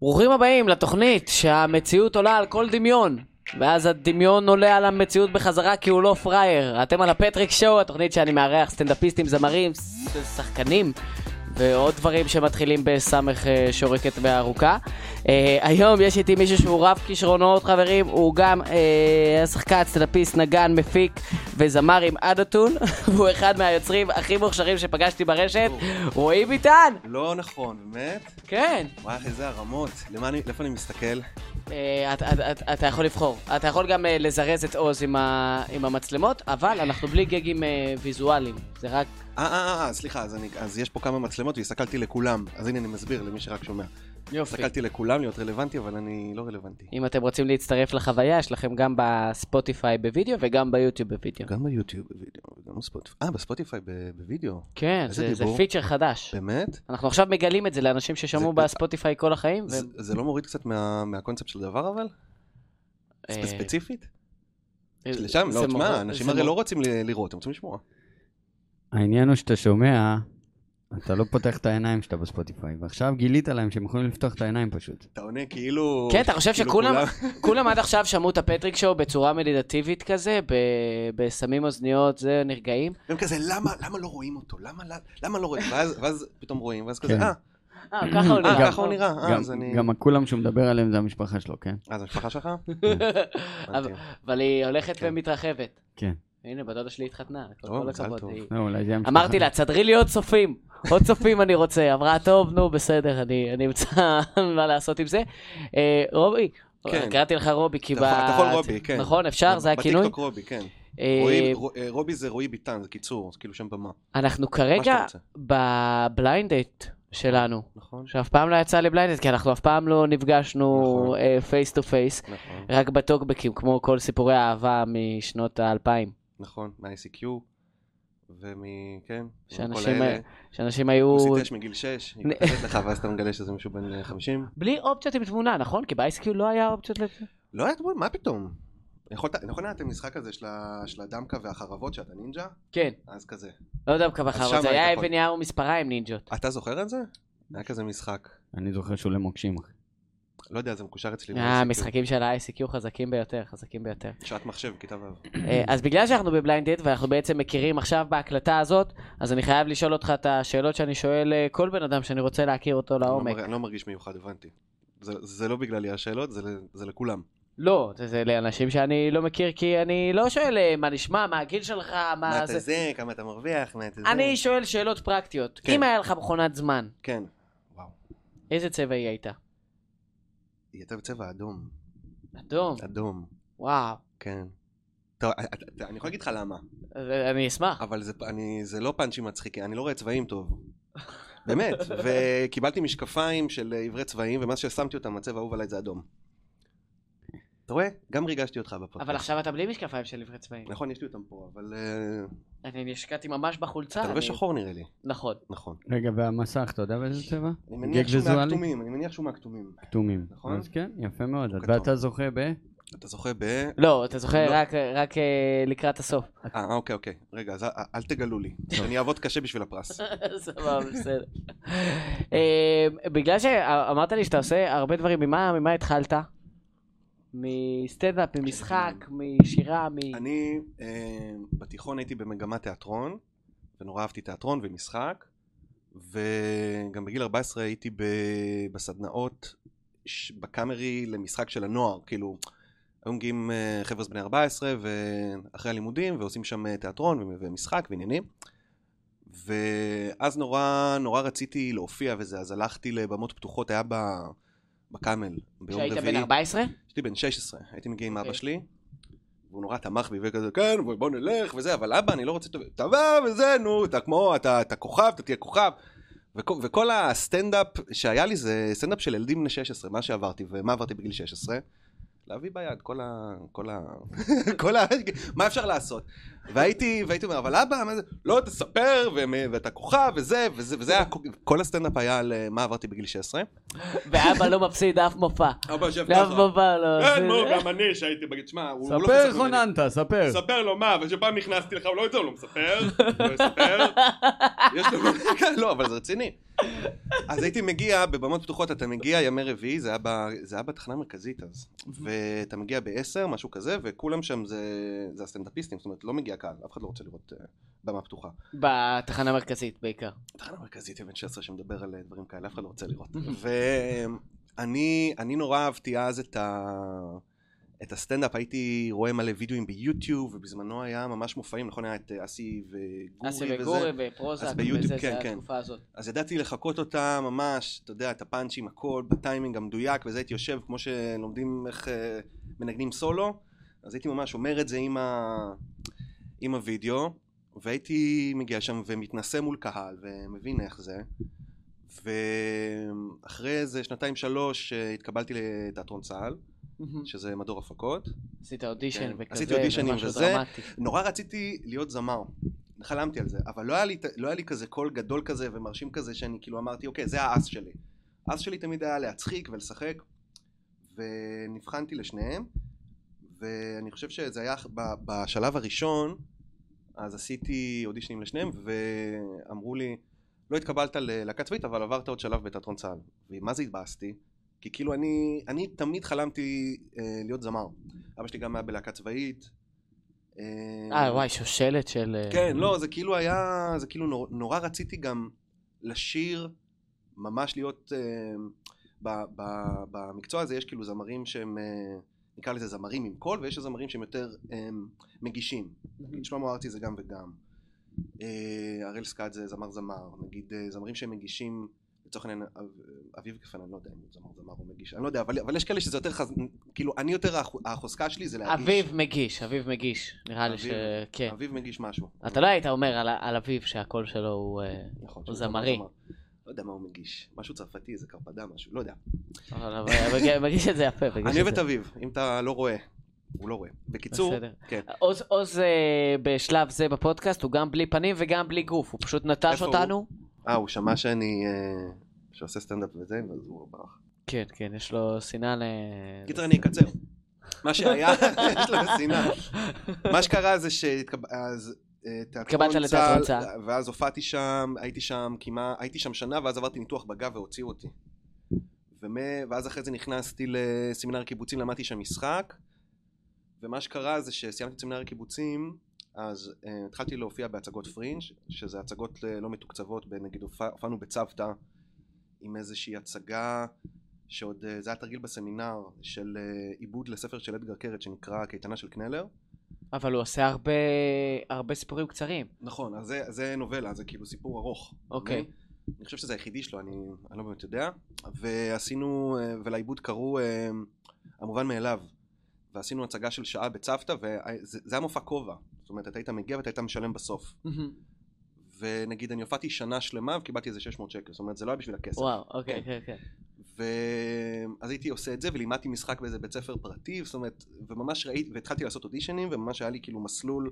ברוכים הבאים לתוכנית שהמציאות עולה על כל דמיון ואז הדמיון עולה על המציאות בחזרה כי הוא לא פראייר אתם על הפטריק שואו, התוכנית שאני מארח סטנדאפיסטים, זמרים, ס- שחקנים ועוד דברים שמתחילים בסמך אה, שורקת וארוכה אה, היום יש איתי מישהו שהוא רב כישרונות חברים הוא גם אה, שחקן, סטנדאפיסט, נגן, מפיק וזמר עם אדתון והוא אחד מהיוצרים הכי מוכשרים שפגשתי ברשת רועי ביטן! לא נכון, באמת? כן! וואי, איזה הרמות. למה אני, לאיפה אני מסתכל? אה, את- את- את- אתה יכול לבחור. אתה יכול גם אה, לזרז את עוז עם ה- עם המצלמות, אבל אנחנו בלי גגים אה, ויזואליים. זה רק... אה, אה, אה, סליחה, אז, אני, אז יש פה כמה מצלמות והסתכלתי לכולם. אז הנה, אני מסביר למי שרק שומע. יופי. הסתכלתי לכולם להיות רלוונטי, אבל אני לא רלוונטי. אם אתם רוצים להצטרף לחוויה, יש לכם גם בספוטיפיי בווידאו וגם ביוטיוב בווידאו. גם ביוטיוב בווידאו, וגם בספוטיפיי. אה, בספוטיפיי ב- בווידאו. כן, איזה זה זה דיבור. פיצ'ר חדש. באמת? אנחנו עכשיו מגלים את זה לאנשים ששמעו זה- בספוטיפיי כל החיים. זה, זה לא מוריד קצת מה, מהקונספט של הדבר, אבל? אה, ספ- ספציפית? לשם, לא, תשמע, אנשים הרי לא רוצים ל- לראות, הם רוצים לשמוע. העניין הוא שאתה שומע, אתה לא פותח את העיניים כשאתה בספוטיפיי, ועכשיו גילית להם שהם יכולים לפתוח את העיניים פשוט. אתה עונה כאילו... כן, אתה חושב כאילו שכולם כולם עד עכשיו שמעו את הפטריק שואו בצורה מדידטיבית כזה, ב- בשמים אוזניות, זה נרגעים? הם כזה, למה, למה לא רואים אותו? למה, למה לא רואים? ואז, ואז פתאום רואים, ואז כזה, כן. אה, אה, ככה הוא נראה. אה, ככה הוא נראה, אה, גם- אז אני... גם כן. הכולם שהוא מדבר עליהם זה המשפחה שלו, כן? אה, זו המשפחה שלך? אוקיי. אבל- הבנתי. אבל היא הולכת כן. ומתרחבת. כן. הנה, בת דודה שלי התחתנה, כל או, כל מזל הכבוד. טוב. היא- לא, אולי זה המשפחה. אמרתי לה, תסדרי לי עוד צופים, עוד צופים אני רוצה. אמרה, טוב, נו, בסדר, אני אני אמצא מה לעשות עם זה. אה, רובי, כן. קראתי לך רובי, כי ב... אתה יכול- אתה יכול רובי, כן. נכון, אפשר, זה הכינוי. בטיקטוק רובי, כן. אה, רועי- רו- אה, רובי זה רועי ביטן, זה קיצור, זה כאילו שם במה. אנחנו מה שאתה כרגע רוצה, בבליינד דייט שלנו, נכון? שאף פעם לא יצא לי בליינד דייט, כי אנחנו אף פעם לא נפגשנו אה, נכון. פייס טו פייס, נכון, רק בטוקבקים, כמו כל סיפורי האהבה משנות האלפיים. נכון, מה-ICQ, ומ... כן, שאנשים אה, כל ה- אלה. שאנשים היו... כוסית אש מגיל 6, היא מתחת לך, ואז אתה מגלה שזה מישהו בן אה, 50. בלי אופציות עם תמונה, נכון? כי באייסקיו לא היה אופציות לתמונה. לא היה תמונה, מה פתאום? יכולת, נכון היה את המשחק הזה של ה- של הדמקה והחרבות, שאתה נינג'ה? כן, אז כזה. לא יודע כמה חרבות, שם אה, זה היית היה יכול. אבן יער ומספריים נינג'ות. אתה זוכר את זה? היה כזה משחק. אני זוכר שהוא למוקשים, אחי. לא יודע, זה מקושר אצלי. אה, ב-ICQ. המשחקים של ה-ICQ חזקים ביותר, חזקים ביותר. שעת מחשב, כיתה ו'. אה, אז בגלל שאנחנו בבליינד דייט ואנחנו בעצם מכירים עכשיו בהקלטה הזאת, אז אני חייב לשאול אותך את השאלות שאני שואל אה, כל בן אדם שאני רוצה להכיר אותו אני לא לעומק. מרג- אני לא מרגיש מיוחד, הבנתי. זה- זה לא בגללי השאלות, זה ל- זה לכולם. לא, זה- זה לאנשים שאני לא מכיר כי אני לא שואל אה, מה נשמע, מה הגיל שלך, מה מה אתה זה. זה, כמה אתה מרוויח, מה אתה זה. אני שואל שאלות פרקטיות. כן. אם היה לך מכונת זמן, כן. וואו. איזה צבע היא הייתה? היא הייתה בצבע אדום. אדום, אדום. וואו. כן. טוב, אה, אה, אני יכול להגיד לך למה, אה, אני אשמח. אבל זה פ- אני- זה לא פאנצ'ים מצחיקים, אני לא רואה צבעים טוב. באמת, וקיבלתי משקפיים של אה, עברי צבעים, ומאז ששמתי אותם, הצבע האהוב עליי זה אדום. אתה רואה? גם ריגשתי אותך בפרק. אבל עכשיו אתה בלי משקפיים של עברי צבעים. נכון, יש לי אותם פה, אבל... אה, אני נשקעתי ממש בחולצה. אתה לא, לא אני- לובש שחור נראה לי. נכון. נכון. רגע, והמסך, אתה יודע באיזה צבע? אני מניח גג שהוא ויזואלי? מהכתומים, אני מניח שהוא מהכתומים. כתומים. נכון. אז כן, יפה מאוד. הוא כתום. ואתה זוכה ב... אתה זוכה ב... לא, אתה זוכר לא. רק- רק אה, לקראת הסוף. אה, אוקיי, אוקיי. רגע, אז אה, אל תגלו לי. אני אעבוד קשה בשביל הפרס. סבבה, בסדר. אה, בגלל שאמרת לי שאתה עושה הרבה דברים, ממה ממה התחלת? מסטנדאפ, ממשחק, משירה, מ... אני אה, בתיכון הייתי במגמת תיאטרון, ונורא אהבתי תיאטרון ומשחק, וגם בגיל 14 הייתי ב... בסדנאות, ש... בקאמרי למשחק של הנוער, כאילו, היו מגיעים אה, חבר'ה בני 14, ואחרי הלימודים, ועושים שם אה, תיאטרון ו- ומשחק ועניינים. ואז נורא נורא רציתי להופיע וזה, אז הלכתי לבמות פתוחות, היה ב- בקאמל, ביום רביעי. כשהיית בן 14? הייתי בן 16, הייתי מגיע עם אוקיי. אבא שלי, והוא נורא תמך בי וכזה, כן, בוא נלך וזה, אבל אבא, אני לא רוצה... טוב, תבוא וזה, נו, אתה כמו, אתה, אתה כוכב, אתה תהיה כוכב. וכו- וכל הסטנדאפ שהיה לי זה סטנדאפ של ילדים בני 16, מה שעברתי, ומה עברתי בגיל 16? להביא ביד, כל ה... כל ה... כל ה... מה אפשר לעשות? והייתי, והייתי אומר, אבל אבא, מה זה? לא, תספר, ו- ואתה כוכב, וזה, וזה, וזה היה, כל הסטנדאפ היה על אה, מה עברתי בגיל 16. ואבא לא מפסיד אף מופע. אבא יושב אף מופע לא... כן, נו, גם אני שהייתי בגיל, שמע, הוא הוא לא ספר, חסך ממני. חוננתה, ספר. ספר לו מה, אבל שפעם נכנסתי לך, הוא לא את זה, הוא לא מספר, הוא לא יספר. יש לו... לא, אבל זה רציני. אז הייתי מגיע, בבמות פתוחות אתה מגיע ימי רביעי, זה היה, ב, זה היה בתחנה המרכזית אז. ואתה מגיע בעשר, משהו כזה, וכולם שם זה, זה הסטנדאפיסטים, זאת אומרת לא מגיע קהל, אף אחד לא רוצה לראות אה, במה פתוחה. בתחנה המרכזית בעיקר. תחנה מרכזית אבן 16 שמדבר על אה, דברים כאלה, אף אחד לא רוצה לראות. ואני אני נורא אהבתי אז את, ה, את הסטנדאפ, הייתי רואה מלא וידאוים ביוטיוב, ובזמנו היה ממש מופעים, נכון? היה את אה, אסי וגורי אסי וזה. וגורי ופרוזק אז ביוטיוב, וזה, כן, זה כן. התקופה הזאת. אז ידעתי לחקות אותה ממש, אתה יודע, את הפאנצ'ים, הכל, בטיימינג המדויק, וזה הייתי יושב כמו שלומדים איך אה, מנגנים סולו, אז הייתי ממש אומר את זה עם, ה... עם הוידאו, והייתי מגיע שם ומתנסה מול קהל, ומבין איך זה. ואחרי איזה שנתיים שלוש אה, התקבלתי לתיאטרון צה"ל, שזה מדור הפקות. עשית אודישן כן. וכזה, עשיתי אודישנים ומשהו וזה. דרמטי. נורא רציתי להיות זמר. חלמתי על זה, אבל לא היה, לי, לא היה לי כזה קול גדול כזה ומרשים כזה שאני כאילו אמרתי, אוקיי, זה האס שלי. האס שלי תמיד היה להצחיק ולשחק, ונבחנתי לשניהם, ואני חושב שזה היה ב- בשלב הראשון, אז עשיתי אודישנים לשניהם, ואמרו לי, לא התקבלת ללהקה צבאית, אבל עברת עוד שלב בתיאטרון צה"ל. ומה זה התבאסתי? כי כאילו אני, אני תמיד חלמתי אה, להיות זמר. אבא שלי גם היה בלהקה צבאית. אה, וואי, שושלת של... אה, כן, לא, זה כאילו היה, זה כאילו נור, נורא רציתי גם לשיר, ממש להיות, אה, ב, ב, במקצוע הזה יש כאילו זמרים שהם, אה, נקרא לזה זמרים עם קול, ויש זמרים שהם יותר אה, מגישים. Mm-hmm. נגיד שלמה ארצי זה גם וגם. אה, הראל סקאט זה זמר זמר, נגיד אה, זמרים שהם מגישים, לצורך העניין, אב- אביב קפן, אני לא יודע אם הוא זמר זמר או מגיש, אני לא יודע, אבל, אבל יש כאלה שזה יותר חז... כאילו, אני יותר, החו- החוזקה שלי זה להגיש. אביב מגיש, אביב מגיש, נראה לי ש... אביב. כן. אביב מגיש משהו. אתה לא היית אומר על- על אביב שהקול שלו הוא... אה, נכון. הוא שזה זמרי. זמר. לא יודע מה הוא מגיש, משהו צרפתי, איזה קרפדה, משהו, לא יודע. אבל- אבל- אבל- מגיש את זה יפה, מגיש את אני זה. אוהב את אביו, אם אתה לא רואה, הוא לא רואה. בקיצור, בסדר. כן. עוז, עוז אה, בשלב זה בפודקאסט הוא גם בלי פנים וגם בלי גוף, הוא פשוט נטש איפה הוא? אותנו. אה, הוא שמע שאני... אה, שעושה סטנדאפ וזה, אז הוא ברח. כן, כן, יש לו שנאה ל... לא קיצר, אני אקצר. מה שהיה, יש לו שנאה. מה שקרה זה שהתקבלת התקבלת לתיאטרון צה"ל. ואז הופעתי שם, הייתי שם כמעט, הייתי שם שנה, ואז עברתי ניתוח בגב והוציאו אותי. ומ- ואז אחרי זה נכנסתי לסמינר קיבוצים, למדתי שם משחק, ומה שקרה זה שסיימתי את סמינר הקיבוצים, אז uh, התחלתי להופיע בהצגות פרינג', שזה הצגות uh, לא מתוקצבות, נגיד הופע- הופענו בצוותא עם איזושהי הצגה שעוד, אה, זה היה תרגיל בסמינר של אה, עיבוד לספר של אדגר קרת שנקרא קייטנה של קנלר. אבל הוא עושה הרבה, הרבה סיפורים קצרים. נכון, אז זה, זה נובלה, זה כאילו סיפור ארוך. אוקיי. אני, אני חושב שזה היחידי שלו, אני, אני לא באמת יודע. ועשינו, אה, ולעיבוד קראו אה, המובן מאליו. ועשינו הצגה של שעה בצוותא, וזה זה היה מופע כובע. זאת אומרת, אתה היית מגיע ואתה היית משלם בסוף. ונגיד, אני הופעתי שנה שלמה וקיבלתי איזה 600 שקל. זאת אומרת, זה לא היה בשביל הכסף. וואו, אוקיי, כן, כן. ואז הייתי עושה את זה ולימדתי משחק באיזה בית ספר פרטי, זאת אומרת, וממש ראיתי, והתחלתי לעשות אודישנים, וממש היה לי כאילו מסלול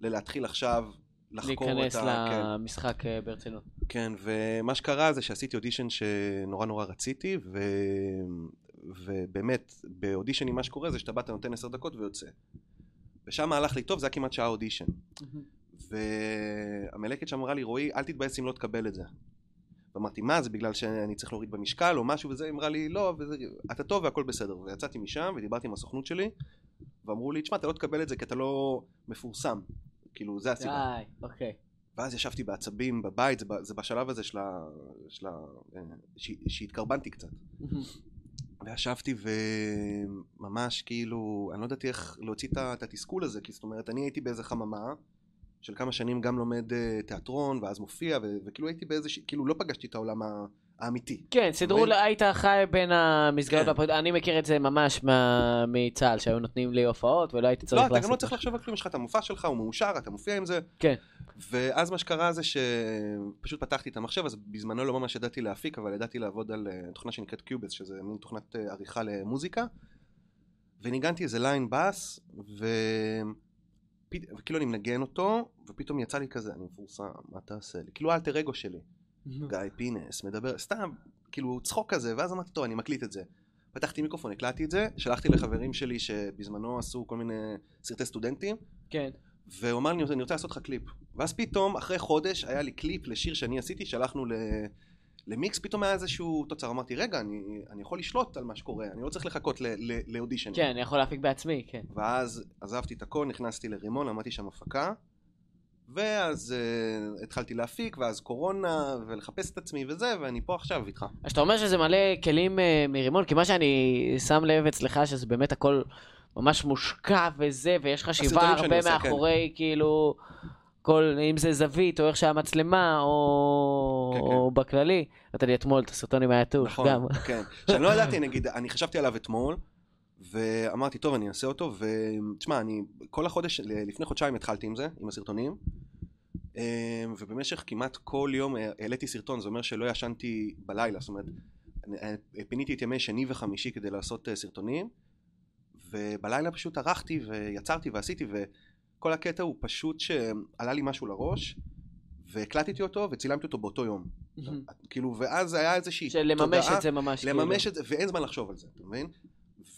ללהתחיל עכשיו לחקור את ה... להיכנס כן. למשחק אה, ברצינות. כן, ומה שקרה זה שעשיתי אודישן שנורא נורא רציתי, ו... ובאמת, באודישנים מה שקורה זה שאתה בא, אתה נותן עשר דקות ויוצא. ושם הלך לי טוב, זה היה כמעט שעה אודישן. והמלקת שם אמרה לי, רועי, אל תתבאס אם לא תקבל את זה. ואמרתי, מה, זה בגלל שאני צריך להוריד במשקל או משהו וזה? היא אמרה לי, לא, וזה, אתה טוב והכל בסדר. ויצאתי משם ודיברתי עם הסוכנות שלי, ואמרו לי, תשמע, אתה לא תקבל את זה כי אתה לא מפורסם. כאילו, זה הסיבה. די, אוקיי. ואז ישבתי בעצבים בבית, זה, ב- זה בשלב הזה של ה... של ה אה, ש, שהתקרבנתי קצת. וישבתי וממש כאילו, אני לא ידעתי איך להוציא את ה- את התסכול הזה, כי זאת אומרת, אני הייתי באיזה חממה של כמה שנים גם לומד אה, תיאטרון, ואז מופיע, ו, וכאילו הייתי באיזה... ש- כאילו לא פגשתי את העולם ה- האמיתי. כן, סידרו, מבין? לה- היית חי בין המסגרות, כן. והפוד- אני מכיר את זה ממש מה- מצה"ל, שהיו נותנים לי הופעות ולא הייתי צריך לא, לעשות... אתה גם לא צריך משהו. לחשוב על כלום, יש לך את המופע שלך, הוא מאושר, אתה מופיע עם זה. כן. ואז מה שקרה זה שפשוט פתחתי את המחשב, אז בזמנו לא ממש ידעתי להפיק, אבל ידעתי לעבוד על אה, תוכנה שנקראת קיובס, שזה מין תוכנת אה, עריכה למוזיקה. וניגנתי איזה ליין בס, ו... פת- וכאילו אני מנגן אותו, ופתאום יצא לי כזה, אני מפורסם, מה תעשה לי? כאילו האלטר אגו שלי. גיא פינס מדבר, סתם, כאילו צחוק כזה, ואז אמרתי, טוב, אני מקליט את זה. פתחתי מיקרופון, הקלטתי את זה, שלחתי לחברים שלי שבזמנו עשו כל מיני סרטי סטודנטים, כן. והוא אמר לי, אני רוצה לעשות לך קליפ. ואז פתאום, אחרי חודש, היה לי קליפ לשיר שאני עשיתי, שלחנו ל... למיקס פתאום היה איזשהו תוצר, אמרתי, רגע, אני, אני יכול לשלוט על מה שקורה, אני לא צריך לחכות ל- ל- לאודישנים. כן, אני יכול להפיק בעצמי, כן. ואז עזבתי את הכל, נכנסתי לרימון, למדתי שם הפקה, ואז uh, התחלתי להפיק, ואז קורונה, ולחפש את עצמי וזה, ואני פה עכשיו איתך. אז אתה אומר שזה מלא כלים אה, מרימון, כי מה שאני שם לב אצלך, שזה באמת הכל ממש מושקע וזה, ויש חשיבה הסרטונים שאני הרבה עושה, כן. מאחורי, כאילו, כל, אם זה זווית, או איך שהמצלמה, או, כן, כן. או בכללי. נתת לי אתמול את הסרטון עם היתוש, נכון, גם. כן. שאני לא ידעתי, נגיד, אני חשבתי עליו אתמול, ואמרתי, טוב, אני אעשה אותו, ותשמע, אני כל החודש, ל- לפני חודשיים התחלתי עם זה, עם הסרטונים, אמ, ובמשך כמעט כל יום אה, העליתי סרטון, זה אומר שלא ישנתי בלילה, זאת אומרת, אני- אה, פיניתי את ימי שני וחמישי כדי לעשות אה, סרטונים, ובלילה פשוט ערכתי ויצרתי ועשיתי, וכל הקטע הוא פשוט שעלה לי משהו לראש, והקלטתי אותו וצילמתי אותו באותו יום. כאילו, ואז היה איזושהי של לממש את זה ממש. לממש את זה, ואין זמן לחשוב על זה, אתה מבין?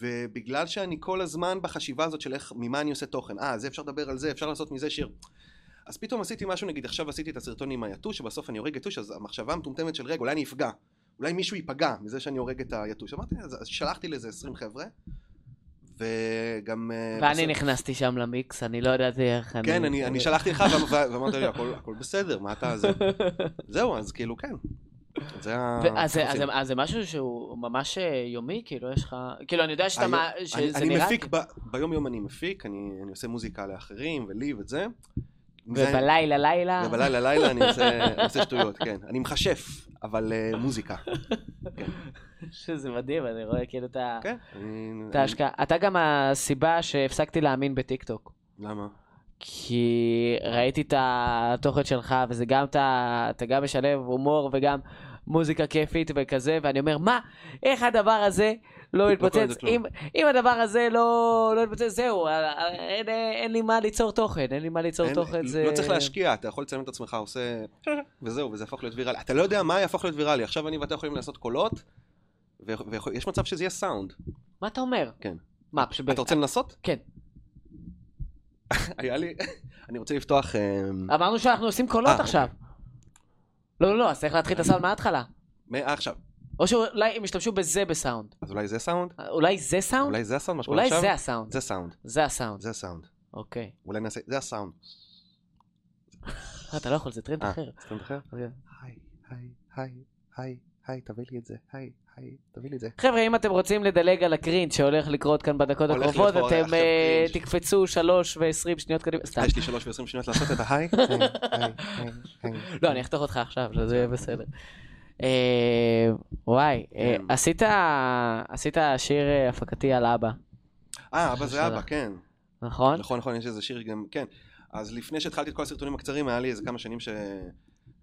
ובגלל שאני כל הזמן בחשיבה הזאת של איך, ממה אני עושה תוכן, אה, זה אפשר לדבר על זה, אפשר לעשות מזה שיר. אז פתאום עשיתי משהו, נגיד עכשיו עשיתי את הסרטון עם היתוש, שבסוף אני הורג יתוש, אז המחשבה המטומטמת של רגע, אולי אני אפגע, אולי מישהו ייפגע מזה שאני הורג את היתוש. אמרתי, אז אז שלחתי לזה 20 חבר'ה, וגם... אה, ואני בסוף- נכנסתי שם למיקס, אני לא ידעתי איך אני... כן, אני אני שלחתי לך, ו- ו- ואמרת לי, "הכל- הכל בסדר, מה אתה... זה?" זהו, אז כאילו, כן. זה ה... ו- אז זה- אנחנו אז עושים. זה- אז זה משהו שהוא ממש אה, יומי, כאילו יש לך... כאילו, אני יודע שאתה... היום- מה- אני, שזה אני נראה מפיק, כ- ב, ביום יום אני מפיק, אני, אני עושה מוזיקה לאחרים ולי וזה. ובלילה, לילה. זה- ובלילה לילה אני עושה, אני עושה שטויות, כן. אני מכשף, אבל אה, מוזיקה. שזה מדהים, אני רואה כאילו את ה- כן. אני- את ההשקעה. אתה גם הסיבה שהפסקתי להאמין בטיקטוק. אני- למה? כי ראיתי את התוכן שלך, וזה גם, אתה, אתה גם משלב הומור וגם מוזיקה כיפית וכזה, ואני אומר, מה, איך הדבר הזה לא קורה עם זה יתפוצץ? כלום." אם, אם הדבר הזה לא, לא יתפוצץ, זהו, אה, אה, אין, אין, אין לי מה ליצור תוכן, אין לי מה ליצור אין- תוכן, זה... לא צריך להשקיע, אתה יכול לצלם את עצמך, עושה... וזהו, וזה יהפוך להיות ויראלי. אתה לא יודע מה יהפוך להיות ויראלי. עכשיו אני ואתה יכולים לעשות קולות, ויש מצב שזה יהיה סאונד. מה אתה אומר? כן. מה, פשוט... אתה רוצה לנסות? כן. היה לי... אני רוצה לפתוח... אה, אמרנו שאנחנו עושים אה, קולות אוקיי. עכשיו. לא, לא, לא, אז צריך להתחיל את הסאונד מההתחלה. מה- אה, עכשיו. או שאולי הם ישתמשו בזה בסאונד. אז אולי זה סאונד? אולי זה סאונד? אולי זה הסאונד? מה שקורה אולי עכשיו? זה הסאונד. זה סאונד. זה הסאונד. זה הסאונד. אוקיי. אולי נעשה, זה הסאונד. אה, אתה לא יכול, זה טרנד אה. אחר. סתם אחר? אוקיי. היי, היי, היי, היי, היי, תביא לי את זה, היי, היי, תביא לי את זה. חבר'ה, אם אתם רוצים לדלג על הקרינג' שהולך לקרות כאן בדקות הולך הקרובות, להיות פה אתם עכשיו אה, קרינג'. תקפצו 3 ו-20 שניות קדימה. סתם. יש לי שלוש ועשרים שניות לעשות את ההיי? היי, היי, היי, היי. לא, אני אחתוך אותך עכשיו, שזה יהיה בסדר. אה, וואי, אה, כן. עשית עשית שיר אה, הפקתי על אבא, אה, אבא זה שלך. אבא, כן. נכון? נכון, נכון, יש איזה שיר גם, כן. אז לפני שהתחלתי את כל הסרטונים הקצרים, היה לי איזה כמה שנים ש...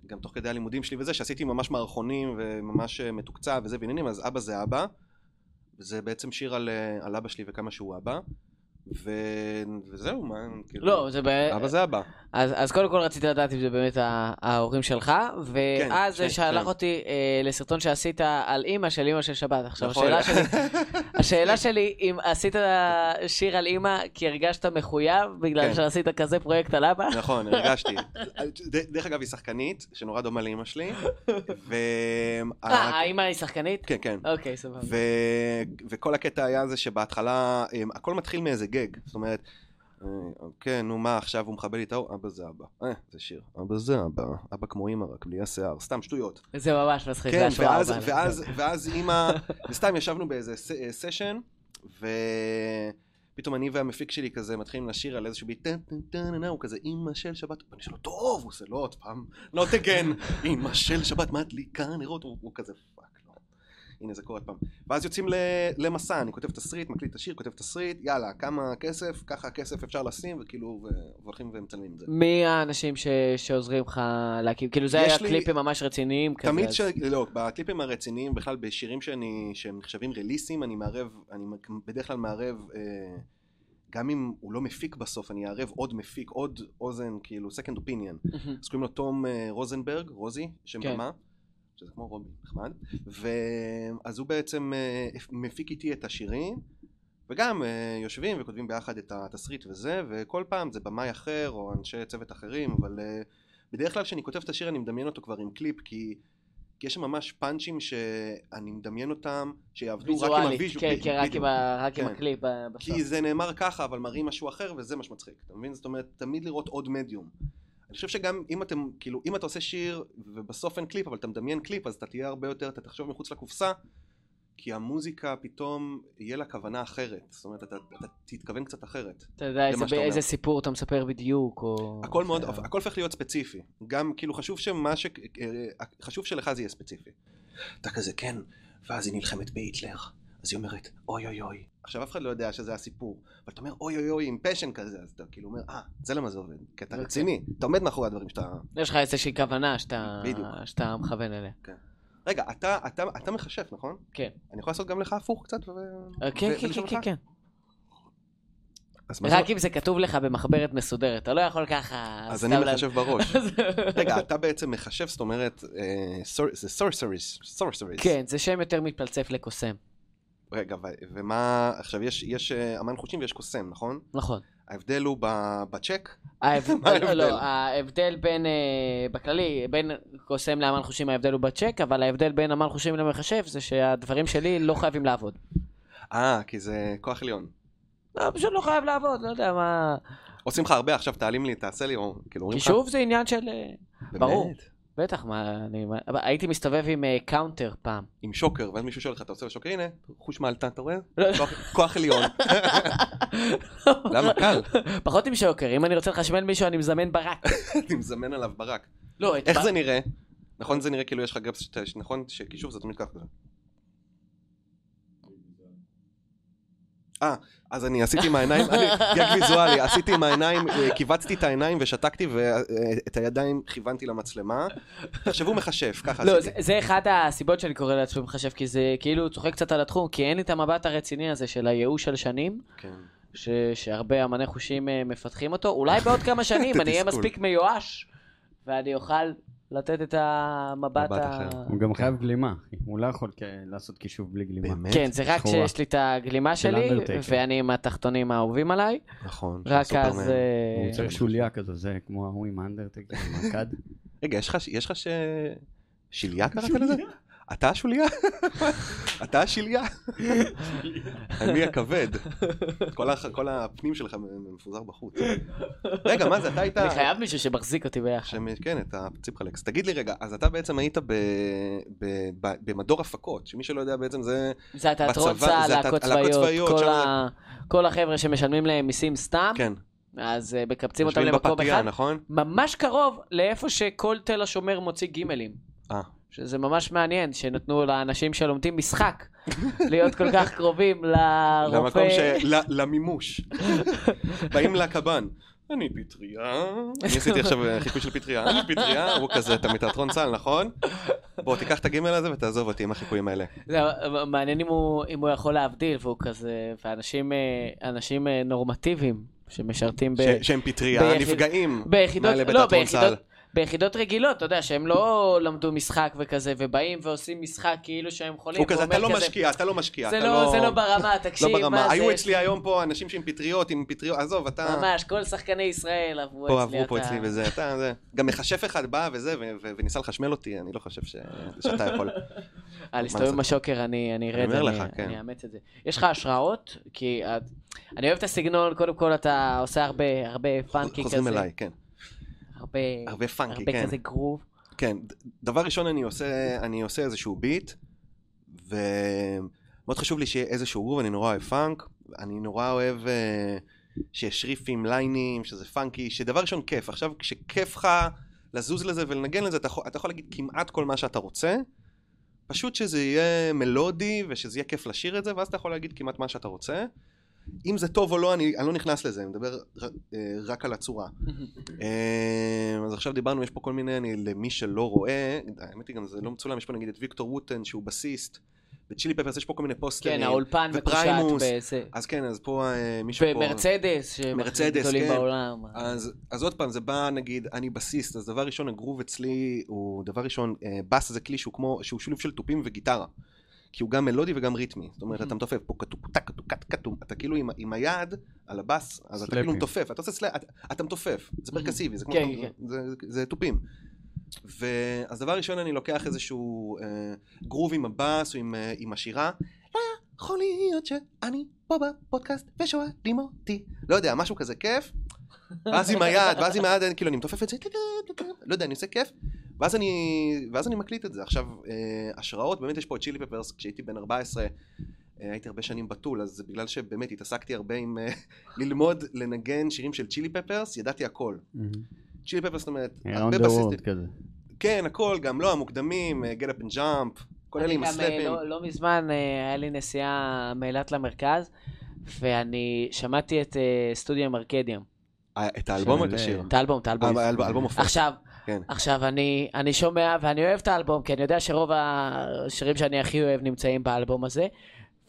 גם תוך כדי הלימודים שלי וזה, שעשיתי ממש מערכונים וממש אה, מתוקצב וזה ועניינים, אז אבא זה אבא. זה בעצם שיר על, אה, על אבא שלי וכמה שהוא אבא. ו... וזהו, מה, כאילו... לא, זה ב... אבא זה אבא. אז, אז קודם כל רציתי לדעת אם זה באמת ה- ההורים שלך, ואז כן, כן, שלח כן. אותי אה, לסרטון שעשית על אימא של אימא של שבת. עכשיו, נכון. השאלה שלי, השאלה שלי, אם עשית שיר על אימא כי הרגשת מחויב בגלל כן. שעשית כזה פרויקט על אבא? נכון, הרגשתי. ד- דרך אגב, היא שחקנית, שנורא דומה לאימא שלי. ו... אה, האימא היא שחקנית? כן, כן. אוקיי, סבבה. ו... וכל הקטע היה זה שבהתחלה, הם, הכל מתחיל מאיזה גג. זאת אומרת, אה, כן, נו מה, עכשיו הוא מכבה לי את האור? אבא זה אבא. אה, זה שיר. אבא זה אבא. אבא כמו אימא, רק בלי השיער. סתם שטויות. זה ממש מצחיק, זה כן, השורה ואז, הבאה. ואז, ואז אימא, וסתם ישבנו באיזה ס- אה, סשן, ופתאום אני והמפיק שלי כזה מתחילים לשיר על איזשהו ביט, טן טן טן טן, הוא כזה אימא של שבת, ואני שואל לו, טוב, הוא עושה לא עוד פעם, לא תגן, אימא של שבת מדליקה נרות, הוא הוא כזה פאק, לא. הנה זה קורה עוד פעם. ואז יוצאים ל- למסע, אני כותב תסריט, מקליט את השיר, כותב תסריט, יאללה, כמה כסף, ככה כסף אפשר לשים, וכאילו, ו- והולכים ומצלמים את זה. מי האנשים ש... שעוזרים לך להקים? כאילו זה יש היה לי- קליפים ממש רציניים כזה. תמיד אז- ש... לא, בקליפים הרציניים, בכלל בשירים שאני, שהם נחשבים רליסים, אני מערב, אני בדרך כלל מערב, אה, גם אם הוא לא מפיק בסוף, אני אערב עוד מפיק, עוד אוזן, כאילו, second opinion. אז קוראים לו תום אה, רוזנברג, רוזי, שם כן. במה, שזה כמו רובי, נחמד. ואז הוא בעצם אה, מפיק איתי את השירים. וגם אה, יושבים וכותבים ביחד את התסריט וזה, וכל פעם זה במאי אחר או אנשי צוות אחרים, אבל אה, בדרך כלל כשאני כותב את השיר אני מדמיין אותו כבר עם קליפ, כי כי יש שם ממש פאנצ'ים שאני מדמיין אותם, שיעבדו רק עם ויזואלית, הוויז'ו. כן, בדיוק, כן, רק בדיוק. עם ה- רק עם כן. הקליפ ב- בסוף. כי זה נאמר ככה, אבל מראים משהו אחר, וזה מה שמצחיק. אתה מבין? זאת אומרת, תמיד לראות עוד מדיום. אני חושב שגם אם אתם, כאילו, אם אתה עושה שיר, ובסוף אין קליפ, אבל אתה מדמיין קליפ, אז אתה תהיה הרבה יותר, אתה תחשוב מחוץ לקופסה, כי המוזיקה פתאום, יהיה לה כוונה אחרת. זאת אומרת, אתה, אתה תתכוון קצת אחרת. אתה יודע איזה- מה שאתה אומר. איזה סיפור אתה מספר בדיוק, או... הכל מאוד, זה- הכל הופך להיות ספציפי. גם, כאילו, חשוב שמה ש... אה, חשוב שלך זה יהיה ספציפי. אתה כזה, כן, ואז היא נלחמת בהיטלר. אז היא אומרת, אוי אוי אוי. עכשיו, אף אחד לא יודע שזה הסיפור. אבל אתה אומר, אוי אוי אוי, עם פשן כזה, אז אתה כאילו אומר, אה, זה למה זה עובד. כי אתה אוקיי. רציני. אתה עומד מאחורי הדברים שאתה... יש לך איזושהי כוונה שאתה- בדיוק. שאתה מכוון אליה. רגע, אתה, אתה, אתה מחשף, נכון? כן. אני יכול לעשות גם לך הפוך קצת? ו... אה, כן, ו- כן, ולשאול כן, אותך? כן. אז, מה זה- רק אם זה כתוב לך במחברת מסודרת, אתה לא יכול ככה... אז סתם אני לה- מחשב בראש. רגע, אתה בעצם מחשב, זאת אומרת, אה, סור- זה סורסריס. סורסריס. כן, זה שם יותר מתפלצף לקוסם. רגע, ו- ומה, עכשיו יש, יש אה, אמן חושים ויש קוסם, נכון? נכון. ההבדל הוא ב- בצ'ק? ההבדל, מה ההבדל? לא, ההבדל בין, אה, בכללי, בין קוסם לאמן חושים ההבדל הוא בצ'ק, אבל ההבדל בין אמן חושים למחשב זה שהדברים שלי לא חייבים לעבוד. אה, כי זה כוח עליון. לא, פשוט לא חייב לעבוד, לא יודע מה... עושים לך הרבה, עכשיו תעלים לי, תעשה לי, או כאילו אומרים לך... קישוב זה עניין של... אה, באמת? ברור. בטח, מה, אני... מה- אבל הייתי מסתובב עם אה, קאונטר פעם. עם שוקר, ואז מישהו שואל לך, אתה עושה לו שוקר? הנה, חוש מעלתה, אתה רואה? לא. כוח- כוח עליון. למה? קל. פחות עם שוקר, אם אני רוצה לחשמל מישהו אני מזמן ברק. אני מזמן עליו ברק. לא, את איך בר- זה נראה? נכון זה נראה כאילו יש לך גרפס, שאתה- נכון שקישוב זה תמיד ככה. אה, אז אני עשיתי עם העיניים, אני גג ויזואלי, עשיתי עם העיניים, אה, כיווצתי את העיניים ושתקתי ואת הידיים כיוונתי למצלמה. תחשבו מחשף, ככה לא, עשיתי. זה- זה אחד הסיבות שאני קורא לעצמי מחשב, כי זה כאילו צוחק קצת על התחום, כי אין לי את המבט הרציני הזה של הייאוש על שנים, כן. ש- שהרבה אמני חושים אה, מפתחים אותו, אולי בעוד כמה שנים זה אני אהיה תסכול. מספיק מיואש, ואני אוכל לתת את המבט מבט ה... אחר. הוא גם חייב גלימה, הוא לא יכול כ- לעשות קישוב בלי גלימה. באמת? כן, זה רק שחורה. כשיש לי את הגלימה של שלי, אנדרטייקר. ואני עם התחתונים האהובים עליי, נכון. של רק סופרמן. אז... אה, הוא צריך שוליה כזו, זה כמו ההוא עם האנדרטקר, עם הכד. רגע, יש לך- יש לך ש... שיליה קראת לזה? אתה השוליה? אתה השליה? אני הכבד. כל הח- כל הפנים שלך מ- מפוזר בחוץ. רגע, מה זה, אתה היית... אני חייב מישהו שמחזיק אותי ביחד. שמ- כן, את הציפחלקס. תגיד לי רגע, אז אתה בעצם היית ב- ב- ב- במדור הפקות, שמי שלא יודע בעצם זה... זה התיאטרון בצבא, צה"ל, זה הת- להקות הלהקות צבאיות, צבאיות, כל שם ה- כל החבר'ה שמשלמים להם מיסים סתם, כן, אז אה, מקבצים אה, אותם יושבים למקום בפתיה, אחד, נכון? ממש קרוב לאיפה שכל תל השומר מוציא גימלים. אה. שזה ממש מעניין, שנתנו לאנשים שלומדים משחק להיות כל כך קרובים לרופא. למקום ש... ל- למימוש. באים לקב"ן. אני פטריה, אני עשיתי עכשיו אה, חיקוי של פטריה, אני פטריה, הוא כזה, אתה מתיאטרון צה"ל, נכון? בוא, תיקח את הגימל הזה ותעזוב אותי עם החיקויים האלה. זה מעניין אם הוא, אם הוא יכול להבדיל, והוא כזה, ואנשים אה, אנשים אה, נורמטיביים שמשרתים ב... ש- שהם פטריה, ביחיד- נפגעים. ביחידות, מאלה לא, בתיאטרון צה"ל. ביחידות, ביחידות רגילות, אתה יודע, שהם לא למדו משחק וכזה, ובאים ועושים משחק כאילו שהם חולים. הוא כזה, ואומר אתה לא משקיע, אתה לא משקיע, זה אתה לא, זה לא ברמה, תקשיב, לא ברמה. מה היו זה, אצלי היום פה אנשים שהם פטריות, עם פטריות, עזוב, אתה... ממש, כל שחקני ישראל עברו אצלי. פה עברו פה אתה- אצלי וזה, אתה זה. גם מכשף אחד בא וזה, ו- ו- וניסה לחשמל אותי, אני לא חושב ש- שאתה יכול. אה, להסתובב עם השוקר, אני אני ארד, אומר אני- לך, כן. אני אאמץ את זה. יש לך השראות? כי את- אני אוהב את הסגנון, קודם כל אתה עושה הרבה הרבה פאנקי כזה. חוזרים אליי, כן. הרבה הרבה פאנקי, הרבה כן. כזה גרוב. כן, ד- דבר ראשון אני עושה, אני עושה איזשהו ביט, ומאוד חשוב לי שיהיה איזשהו גרוב, אני נורא אוהב פאנק, אני נורא אוהב אה, שיש ריפים, ליינים, שזה פאנקי, שדבר ראשון כיף, עכשיו כשכיף לך לזוז לזה ולנגן לזה, אתה יכול, אתה יכול להגיד כמעט כל מה שאתה רוצה, פשוט שזה יהיה מלודי ושזה יהיה כיף לשיר את זה, ואז אתה יכול להגיד כמעט מה שאתה רוצה. אם זה טוב או לא, אני, אני לא נכנס לזה, אני מדבר ר- אה, רק על הצורה. אמ, אז עכשיו דיברנו, יש פה כל מיני, אני, למי שלא רואה, האמת היא גם זה לא מצולם, יש פה נגיד את ויקטור ווטן שהוא בסיסט, בצ'ילי פפרס יש פה כל מיני פוסטרים. כן, האולפן מקושט אה, ופריימוס, בזה. אז כן, אז פה אה, מישהו פה... ומרצדס, שהם הכי מרצדס, גדולים כן. בעולם. אז, אז עוד פעם, זה בא נגיד, אני בסיסט, אז דבר ראשון, הגרוב אצלי הוא, דבר ראשון, אה, בס זה כלי שהוא כמו, שהוא שילוב של תופים וגיטרה. כי הוא גם מלודי וגם ריתמי. זאת אומרת, Mhm. אתה מתופף פה כתוב, טק, כתוב, קט, כתוב, אתה כאילו עם, עם היד על הבס, אז אתה סלאפים. כאילו מתופף, אתה עושה סלאפ, אתה, אתה מתופף, זה Mhm. פרקסיבי, זה כמו, כן, שאתה- כן. זה, זה תופים. ואז דבר ראשון אני לוקח איזשהו אה, גרוב עם הבאס או עם, אה, עם השירה. לא יכול להיות שאני פה בפודקאסט ושואלים אותי. לא יודע, משהו כזה כיף. ואז עם היד, ואז עם היד, אני- כאילו אני מתופף את זה, לא יודע, אני עושה כיף. ואז אני, ואז אני מקליט את זה. עכשיו, אה, השראות, באמת יש פה את צ'ילי פפרס, כשהייתי בן 14, אה, הייתי הרבה שנים בתול, אז בגלל שבאמת התעסקתי הרבה עם אה, ללמוד לנגן שירים של צ'ילי פפרס, ידעתי הכל. צ'ילי פפרס, זאת אומרת, around הרבה אה, the בסיסטים. world כזה. כן, הכל, גם לא המוקדמים, אה, get up and jump, כל אלה אני עם גם אה, הסלאפים. לא- לא מזמן אה, היה לי נסיעה מאילת למרכז, ואני שמעתי את אה, סטודיו מרקדיום. אה, את האלבום או את של, השיר? אה, את האלבום, את האלבום. אה, האלב- האלבום הופך. עכשיו, כן. עכשיו אני, אני שומע ואני אוהב את האלבום, כי אני יודע שרוב השירים שאני הכי אוהב נמצאים באלבום הזה.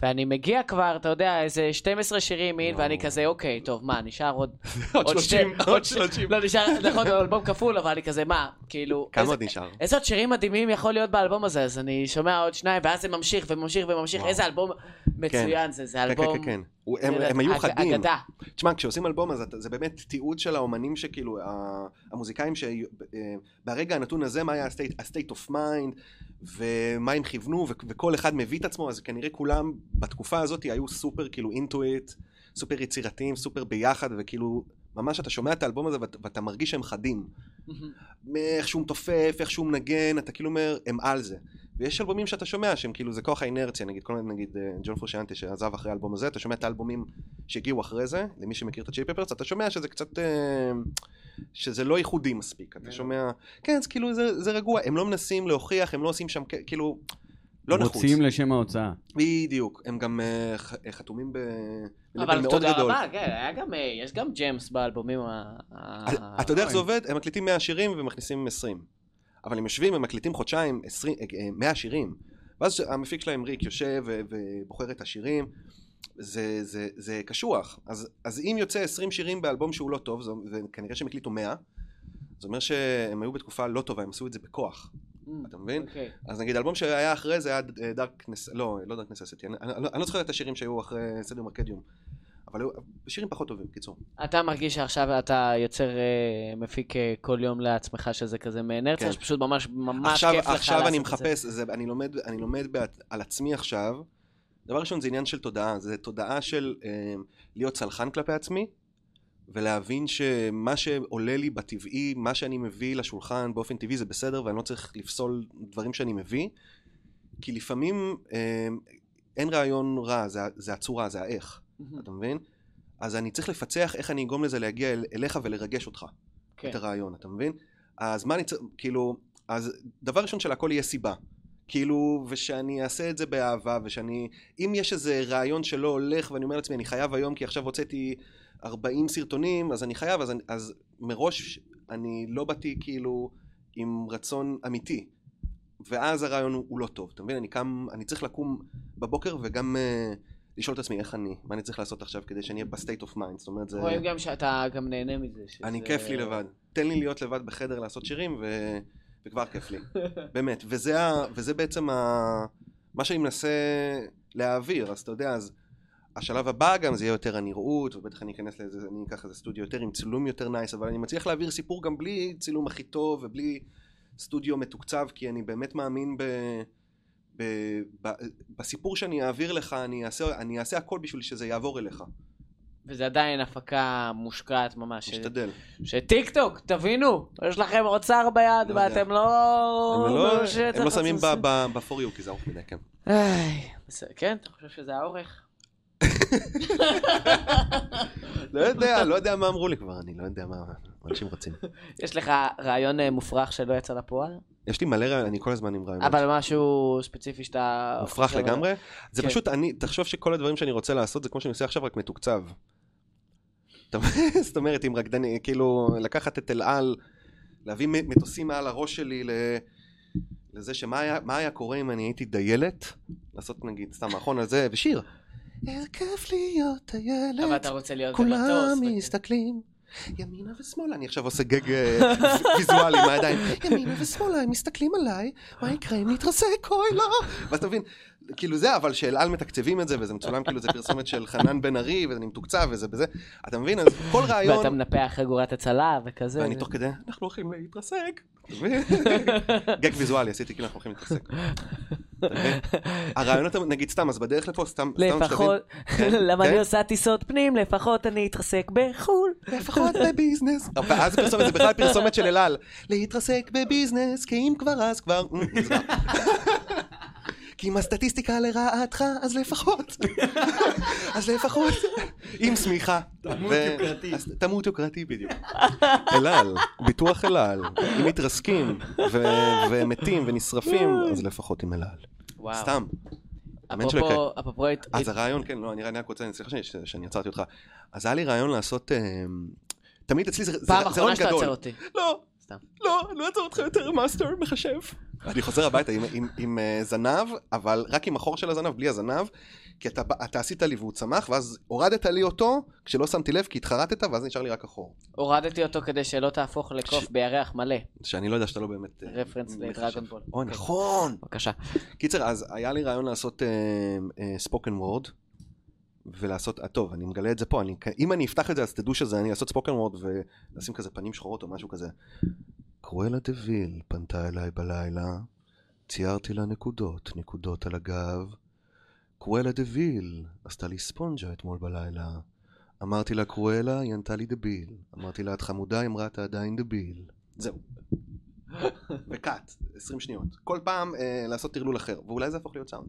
ואני מגיע כבר, אתה יודע, איזה 12 שירים אין, ואני כזה, אוקיי, טוב, מה, נשאר עוד... עוד שתי- 30, עוד 30. לא, נשאר, נכון, אלבום כפול, אבל אני כזה, מה, כאילו... כמה איזה- עוד נשאר? איזה עוד שירים מדהימים יכול להיות באלבום הזה, אז אני שומע עוד שניים, ואז זה ממשיך וממשיך וממשיך, וואו. איזה אלבום מצוין זה, זה כן, כן, אלבום... כן, כן. הוא- הם- זה הם היו אג- חדים. אגדה. תשמע, כשעושים אלבום, אז אתה- זה באמת תיעוד של האומנים שכאילו, ה- המוזיקאים שברגע הנתון הזה, מה היה ה-state- ה-state of mind, ומה הם כיוונו, ו- וכל אחד מביא את עצמו, אז כנראה כולם בתקופה הזאת היו סופר כאילו אינטואיט, סופר יצירתיים, סופר ביחד, וכאילו, ממש אתה שומע את האלבום הזה ואת- ואתה מרגיש שהם חדים. מאיך שהוא מתופף, איך שהוא מנגן, אתה כאילו אומר, הם על זה. ויש אלבומים שאתה שומע שהם כאילו, זה כוח האינרציה, נגיד, כל מיני, נגיד, אה, ג'ון פרושנטה שעזב אחרי האלבום הזה, אתה שומע את האלבומים שהגיעו אחרי זה, למי שמכיר את הצ'יפ פפרס, אתה שומע שזה קצת, אה, שזה לא ייחודי מספיק, אה. אתה שומע, כן, זה כאילו, זה, זה רגוע, הם לא מנסים להוכיח, הם לא עושים שם, כ- כאילו, לא נחוץ. מוציאים לשם ההוצאה. בדיוק, הם גם אה, ח- אה, חתומים ב... בלבל אבל מאוד תודה גדול. רבה, כן, היה גם, אה, יש גם ג'מס באלבומים ה... אה, ה- אתה יודע איך זה עובד? הם מקליטים 100 שירים ומכניסים 20. אבל הם יושבים, הם מקליטים חודשיים 20, אה, אה, 100 שירים. ואז המפיק שלהם, ריק, יושב ו- ובוחר את השירים. זה, זה, זה קשוח. אז, אז אם יוצא 20 שירים באלבום שהוא לא טוב, זה, זה כנראה שהם הקליטו 100. זה אומר שהם היו בתקופה לא טובה, הם עשו את זה בכוח. אתה מבין? אוקיי. אז נגיד אלבום שהיה אחרי זה היה דארק נס... לא, לא דארק נססטי. אני, אני, אני לא זוכר את השירים שהיו אחרי סדר מרקדיום. אבל היו שירים פחות טובים, קיצור. אתה מרגיש שעכשיו אתה יוצר, אה, מפיק אה, כל יום לעצמך שזה כזה מאנרציה, כן. שפשוט ממש ממש עכשיו, כיף לך לעשות את זה. עכשיו אני מחפש, זה, אני לומד, אני לומד בעת, על עצמי עכשיו. דבר ראשון זה עניין של תודעה, זה תודעה של אה, להיות סלחן כלפי עצמי, ולהבין שמה שעולה לי בטבעי, מה שאני מביא לשולחן באופן טבעי זה בסדר, ואני לא צריך לפסול דברים שאני מביא, כי לפעמים אה, אין רעיון רע, זה, ה- זה הצורה, זה האיך, אתה מבין? אז אני צריך לפצח איך אני אגרום לזה להגיע אל, אליך ולרגש אותך. כן. את הרעיון, אתה מבין? אז מה אני צריך, כאילו, אז דבר ראשון שלהכל יהיה סיבה. כאילו, ושאני אעשה את זה באהבה, ושאני, אם יש איזה רעיון שלא הולך, ואני אומר לעצמי, אני חייב היום, כי עכשיו הוצאתי 40 סרטונים, אז אני חייב, אז, אני, אז מראש אני לא באתי כאילו עם רצון אמיתי. ואז הרעיון הוא, הוא לא טוב, אתה מבין? אני קם, אני צריך לקום בבוקר וגם uh, לשאול את עצמי איך אני, מה אני צריך לעשות עכשיו כדי שאני אהיה בסטייט אוף מיינד, זאת אומרת זה... רואים גם שאתה גם נהנה מזה. שזה- אה, אני כן. כיף לי לבד. תן לי להיות לבד בחדר לעשות שירים, ו... וכבר כיף לי. באמת. וזה, ה... וזה בעצם ה... מה שאני מנסה להעביר, אז אתה יודע, אז השלב הבא גם זה יהיה יותר הנראות, ובטח אני אכנס לאיזה, אני אקח איזה סטודיו יותר עם צילום יותר נייס, אבל אני מצליח להעביר סיפור גם בלי צילום הכי טוב ובלי סטודיו מתוקצב, כי אני באמת מאמין ב... ב... ב... בסיפור שאני אעביר לך, אני אעשה, אני אעשה הכל בשביל שזה יעבור אליך. וזה עדיין הפקה מושקעת ממש. משתדל. שטיק טוק, תבינו, יש לכם אוצר ביד לא ואתם לא... הם לא, שצריך הם לא שמים לעשות- ב- ב- ב-for you כי זה ארוך מדי, כן. איי, בסדר, כן, אתה חושב שזה האורך? לא יודע, לא יודע מה אמרו לי כבר, אני לא יודע מה אנשים רוצים. יש לך רעיון אה, מופרך שלא יצא לפועל? יש לי מלא רעיון, אני כל הזמן עם רעיונות. אבל משהו ספציפי שאתה... מופרך חושב עליו. לגמרי. זה כן. פשוט, אני, תחשוב שכל הדברים שאני רוצה לעשות זה כמו שאני עושה עכשיו, רק מתוקצב. אתה מבין? זאת אומרת, אם רקדני, כאילו, לקחת את אל על, להביא מ- מטוסים מעל הראש שלי ל... לזה שמה היה, מה היה קורה אם אני הייתי דיילת, לעשות נגיד סתם מערכון על זה, ושיר. איזה כיף להיות דיילת. אבל אתה רוצה להיות במטוס. כולם וכן. מסתכלים ימינה ושמאלה, אני עכשיו עושה גג אה, ויזואלי מהידיים, ימינה ושמאלה, הם מסתכלים עליי, מה יקרה אם נתרסק, אוי לא, ואז אתה מבין, כאילו זה, אבל שאל על מתקצבים את זה, וזה מצולם, כאילו זה פרסומת של חנן בן ארי, וזה מתוקצב וזה בזה, אתה מבין, אז כל ואתה רעיון, מנפח חגורת הצלה וכזה. ואני תוך כדי, אנחנו הולכים להתרסק, גג ויזואלי עשיתי כאילו אנחנו הולכים להתעסק. אתה מבין? הרעיונות נגיד סתם אז בדרך לפה סתם סתם לפחות, כן, למה כן. אני עושה טיסות פנים? לפחות אני אתרסק בחו"ל. לפחות בביזנס. ואז אוקיי, פרסומת זה בכלל פרסומת של אלעל. להתרסק בביזנס, כי אם כבר אז כבר... אמ, נסגר. כי אם הסטטיסטיקה לרעתך, אז לפחות. אז לפחות. עם שמיכה. תמות ו- יוקרתי. אז תמות יוקרתי בדיוק. אלעל, ביטוח אלעל. אם מתרסקים ו- ומתים ונשרפים, אז לפחות עם אלעל. סתם. אמן שלא יקרה. אפרופו, אפרופו, הת- אז הרעיון, כן, לא, אני אני רק רוצה, סליחה שאני- ש- שאני עצרתי אותך. אז היה לי רעיון לעשות... אמ, תמיד אצלי זה זה- זה פעם רעיון גדול. אחרונה שאתה עוצר אותי. לא, סתם. לא, אני לא אעצור אותך יותר, מאסטר, מחשב. אני חוזר הביתה עם, עם, עם אה, זנב, אבל רק עם החור של הזנב, בלי הזנב, כי אתה, בא- אתה עשית לי והוא צמח, ואז הורדת לי אותו, כשלא שמתי לב, כי התחרטת, ואז נשאר לי רק החור. הורדתי אותו כדי שלא תהפוך לקוף בירח מלא. שאני לא יודע שאתה לא באמת... אה, רפרנס מחשב. לדרגון בול. אוי, כן. נכון. בבקשה. קיצר, אז היה לי רעיון לעשות אה, ספוקן וורד, ולעשות, אה, טוב, אני מגלה את זה פה, אני, אם אני אפתח את זה אז תדעו שזה, אני לעשות ספוקן וורד ולשים כזה פנים שחורות או משהו כזה. קרואלה דה ויל פנתה אליי בלילה, ציירתי לה נקודות, נקודות על הגב. קרואלה דה ויל עשתה לי ספונג'ה אתמול בלילה. אמרתי לה קרואלה, היא ענתה לי דביל. אמרתי לה את חמודה, היא אמרה אתה עדיין דביל. זהו. וקאט, 20 שניות. כל פעם אה, לעשות טרלול אחר, ואולי זה יהפוך להיות סאונד.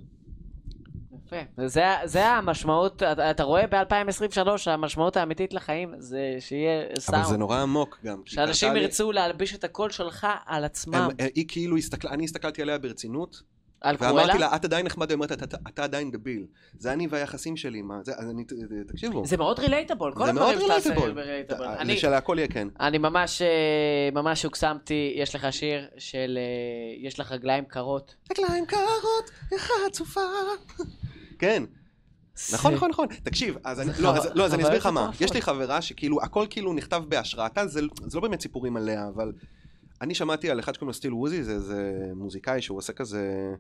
יפה. זה, זה המשמעות, אתה- אתה רואה ב-2023 המשמעות האמיתית לחיים זה שיהיה אבל זה סאונד. נורא עמוק גם. כי שאנשים קרתה לי- ירצו להלביש את הקול שלך על עצמם. הם- אה, היא כאילו הסתכלה, אני הסתכלתי עליה ברצינות, על קרואלה? ואמרתי לה, את עדיין נחמד, היא אומרת, "אתה- אתה- אתה עדיין דביל. זה אני והיחסים שלי, מה, זה, אז אני, תקשיבו. זה מאוד רילייטבול, כל זה מאוד הדברים שאתה עושה relatable. הם רילייטבול. אה, אני- שלהכל יהיה כן. אני ממש אה, ממש הוקסמתי, יש לך שיר של אה, יש לך רגליים קרות. רגליים קרות, איך חצופה. כן, נכון, זה- נכון, נכון. תקשיב, אז אני, זה לא, חו- אז, לא, אז אני אסביר לך חוויות מה. מטורפות. יש לי חברה שכאילו, הכל כאילו נכתב בהשראתה, זה, זה לא באמת סיפורים עליה, אבל אני שמעתי על אחד שקוראים לו סטיל ווזי, זה, זה מוזיקאי שהוא עושה כזה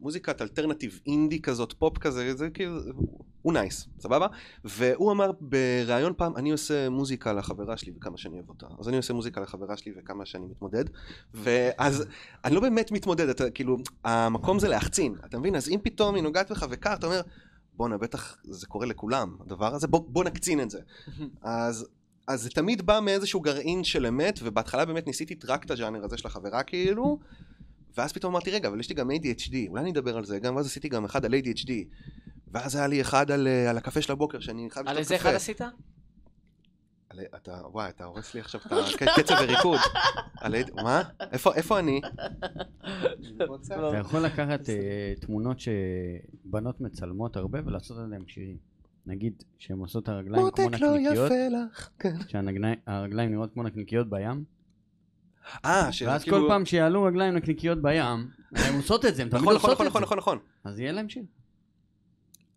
מוזיקת אלטרנטיב אינדי כזאת, פופ כזה, זה כאילו, הוא נייס, סבבה? והוא אמר בריאיון פעם, אני עושה מוזיקה לחברה שלי וכמה שאני אוהב אותה. אז אני עושה מוזיקה לחברה שלי וכמה שאני מתמודד. ואז אני לא באמת מתמודד, אתה כאילו, המקום זה להחצין, אתה מבין? אז אם פתאום היא נוגעת בך וקר, אתה אומר, בואנה, בטח זה קורה לכולם, הדבר הזה, בוא, בוא נקצין את זה. אז, אז זה תמיד בא מאיזשהו גרעין של אמת, ובהתחלה באמת ניסיתי רק את הג'אנר הזה של החברה, כאילו, ואז פתאום אמרתי, רגע, אבל יש לי גם ADHD, אולי אני אדבר על זה גם, ואז עשיתי גם אחד על ADHD. ואז היה לי אחד על, אה, על הקפה של הבוקר, שאני חייב על לשתות איזה קפה. אחד עשית? על- אתה, וואי, אתה הורס לי עכשיו את הקצב וריקוד. על עד- מה? איפה- איפה אני? אתה יכול לקחת אה, תמונות שבנות מצלמות הרבה ולעשות עליהן שירים. נגיד שהן עושות את הרגליים כמו מותק לא נקניקיות, יפה לך. כן. שהרגליים נראות כמו נקניקיות בים, אה, שזה ואז כאילו- כל פעם שיעלו רגליים נקניקיות בים, הן עושות את זה, הן תמיד נכון, עושות נכון, את זה. נכון, נכון, נכון, נכון. אז יהיה להם שיר.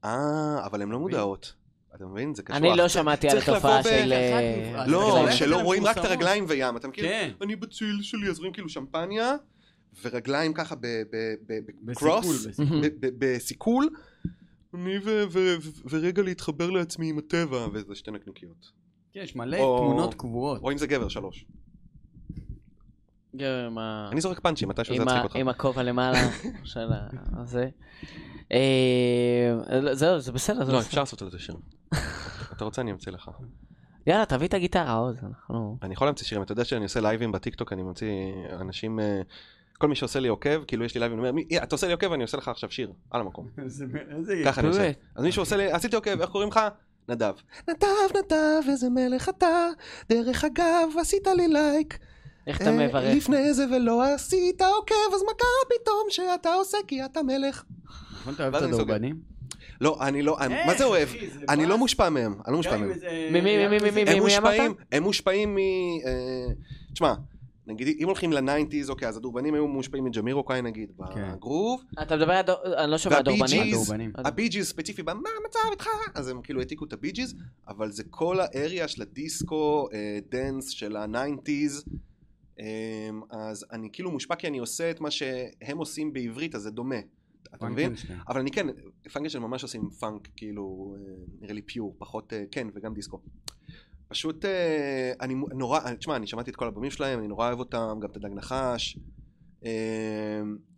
אה, אבל הן לא מודעות. אתה מבין? זה קשוח. אני לא שמעתי על צריך לבוא התופעה ב- של... אה, חזק, אז זה לא, הולך שלא אליהם רואים רק את מפורסמות. הרגליים וים. אתה מכיר? כן. אני בציל שלי, אז רואים כאילו שמפניה, ורגליים ככה בסיכול, בקרוס, בסיכול. בסיכול. אני ו- ו- ו- ורגע להתחבר לעצמי עם הטבע, וזה שתי נקניקיות. כן, יש מלא או- תמונות קבועות. או אם זה גבר, שלוש. גם עם ה- אני זורק פאנצ'ים, מתישהו זה עם יצחיק ה- אותך. עם הכובע למעלה של ה- זה. אה, זהו, זה בסדר. זה לא, בסדר. אפשר לעשות על זה שיר. אתה רוצה, אני אמציא לך. יאללה, תביא את הגיטרה עוד, אנחנו... אני יכול להמציא שירים, אתה יודע שאני עושה לייבים בטיקטוק, אני ממציא אנשים, אה, כל מי שעושה לי עוקב, כאילו יש לי לייבים, אני אומר, "מי- אתה עושה לי עוקב, אני עושה לך עכשיו שיר, על המקום. איזה- איזה ככה אני עושה. באמת? אז מישהו עושה לי, עשיתי עוקב, איך קוראים לך? נדב. נדב, נדב, איזה מלך אתה, דרך אגב, עשית לי לייק. איך אתה אה, מברך? לפני זה ולא עשית עוקב, אז מה קרה פתאום שאתה עושה כי אתה מלך? נכון, אתה אוהב את אה, ואז אני סוגר. הדורבנים? לא, אני לא, אני- מה זה אוהב? אני לא מושפע מהם, אני לא מושפע מהם. מי- מי- מי- מי- מי- הם מי מושפעים, אמרת? הם מושפעים מ... אה, תשמע, נגיד אם הולכים לניינטיז, אוקיי, אז הדורבנים היו מושפעים מג'מירוקאי נגיד, כן. בגרוב, אתה מדבר על... דו- אני לא שומע והבי אה, דורבנים. ג'יז. הדורבנים. הביג'יז ספציפי, בא, מה המצב איתך? אז הם כאילו העתיקו את הביג'יז, אבל זה כל האריה של הדיסקו, אה, דנס של הניינטיז. אמ, אז אני כאילו מושפע כי אני עושה את מה שהם עושים בעברית, אז זה דומה. אתה מבין? פרנקנשטיין. אבל אני כן, פאנקשן ממש עושים פאנק, כאילו, אה, נראה לי פיור, פחות, אה, כן, וגם דיסקו. פשוט, אה, אני מ- נורא, אה, תשמע, אני שמעתי את כל הבמים שלהם, אני נורא אוהב אותם, גם את הדג נחש, אה,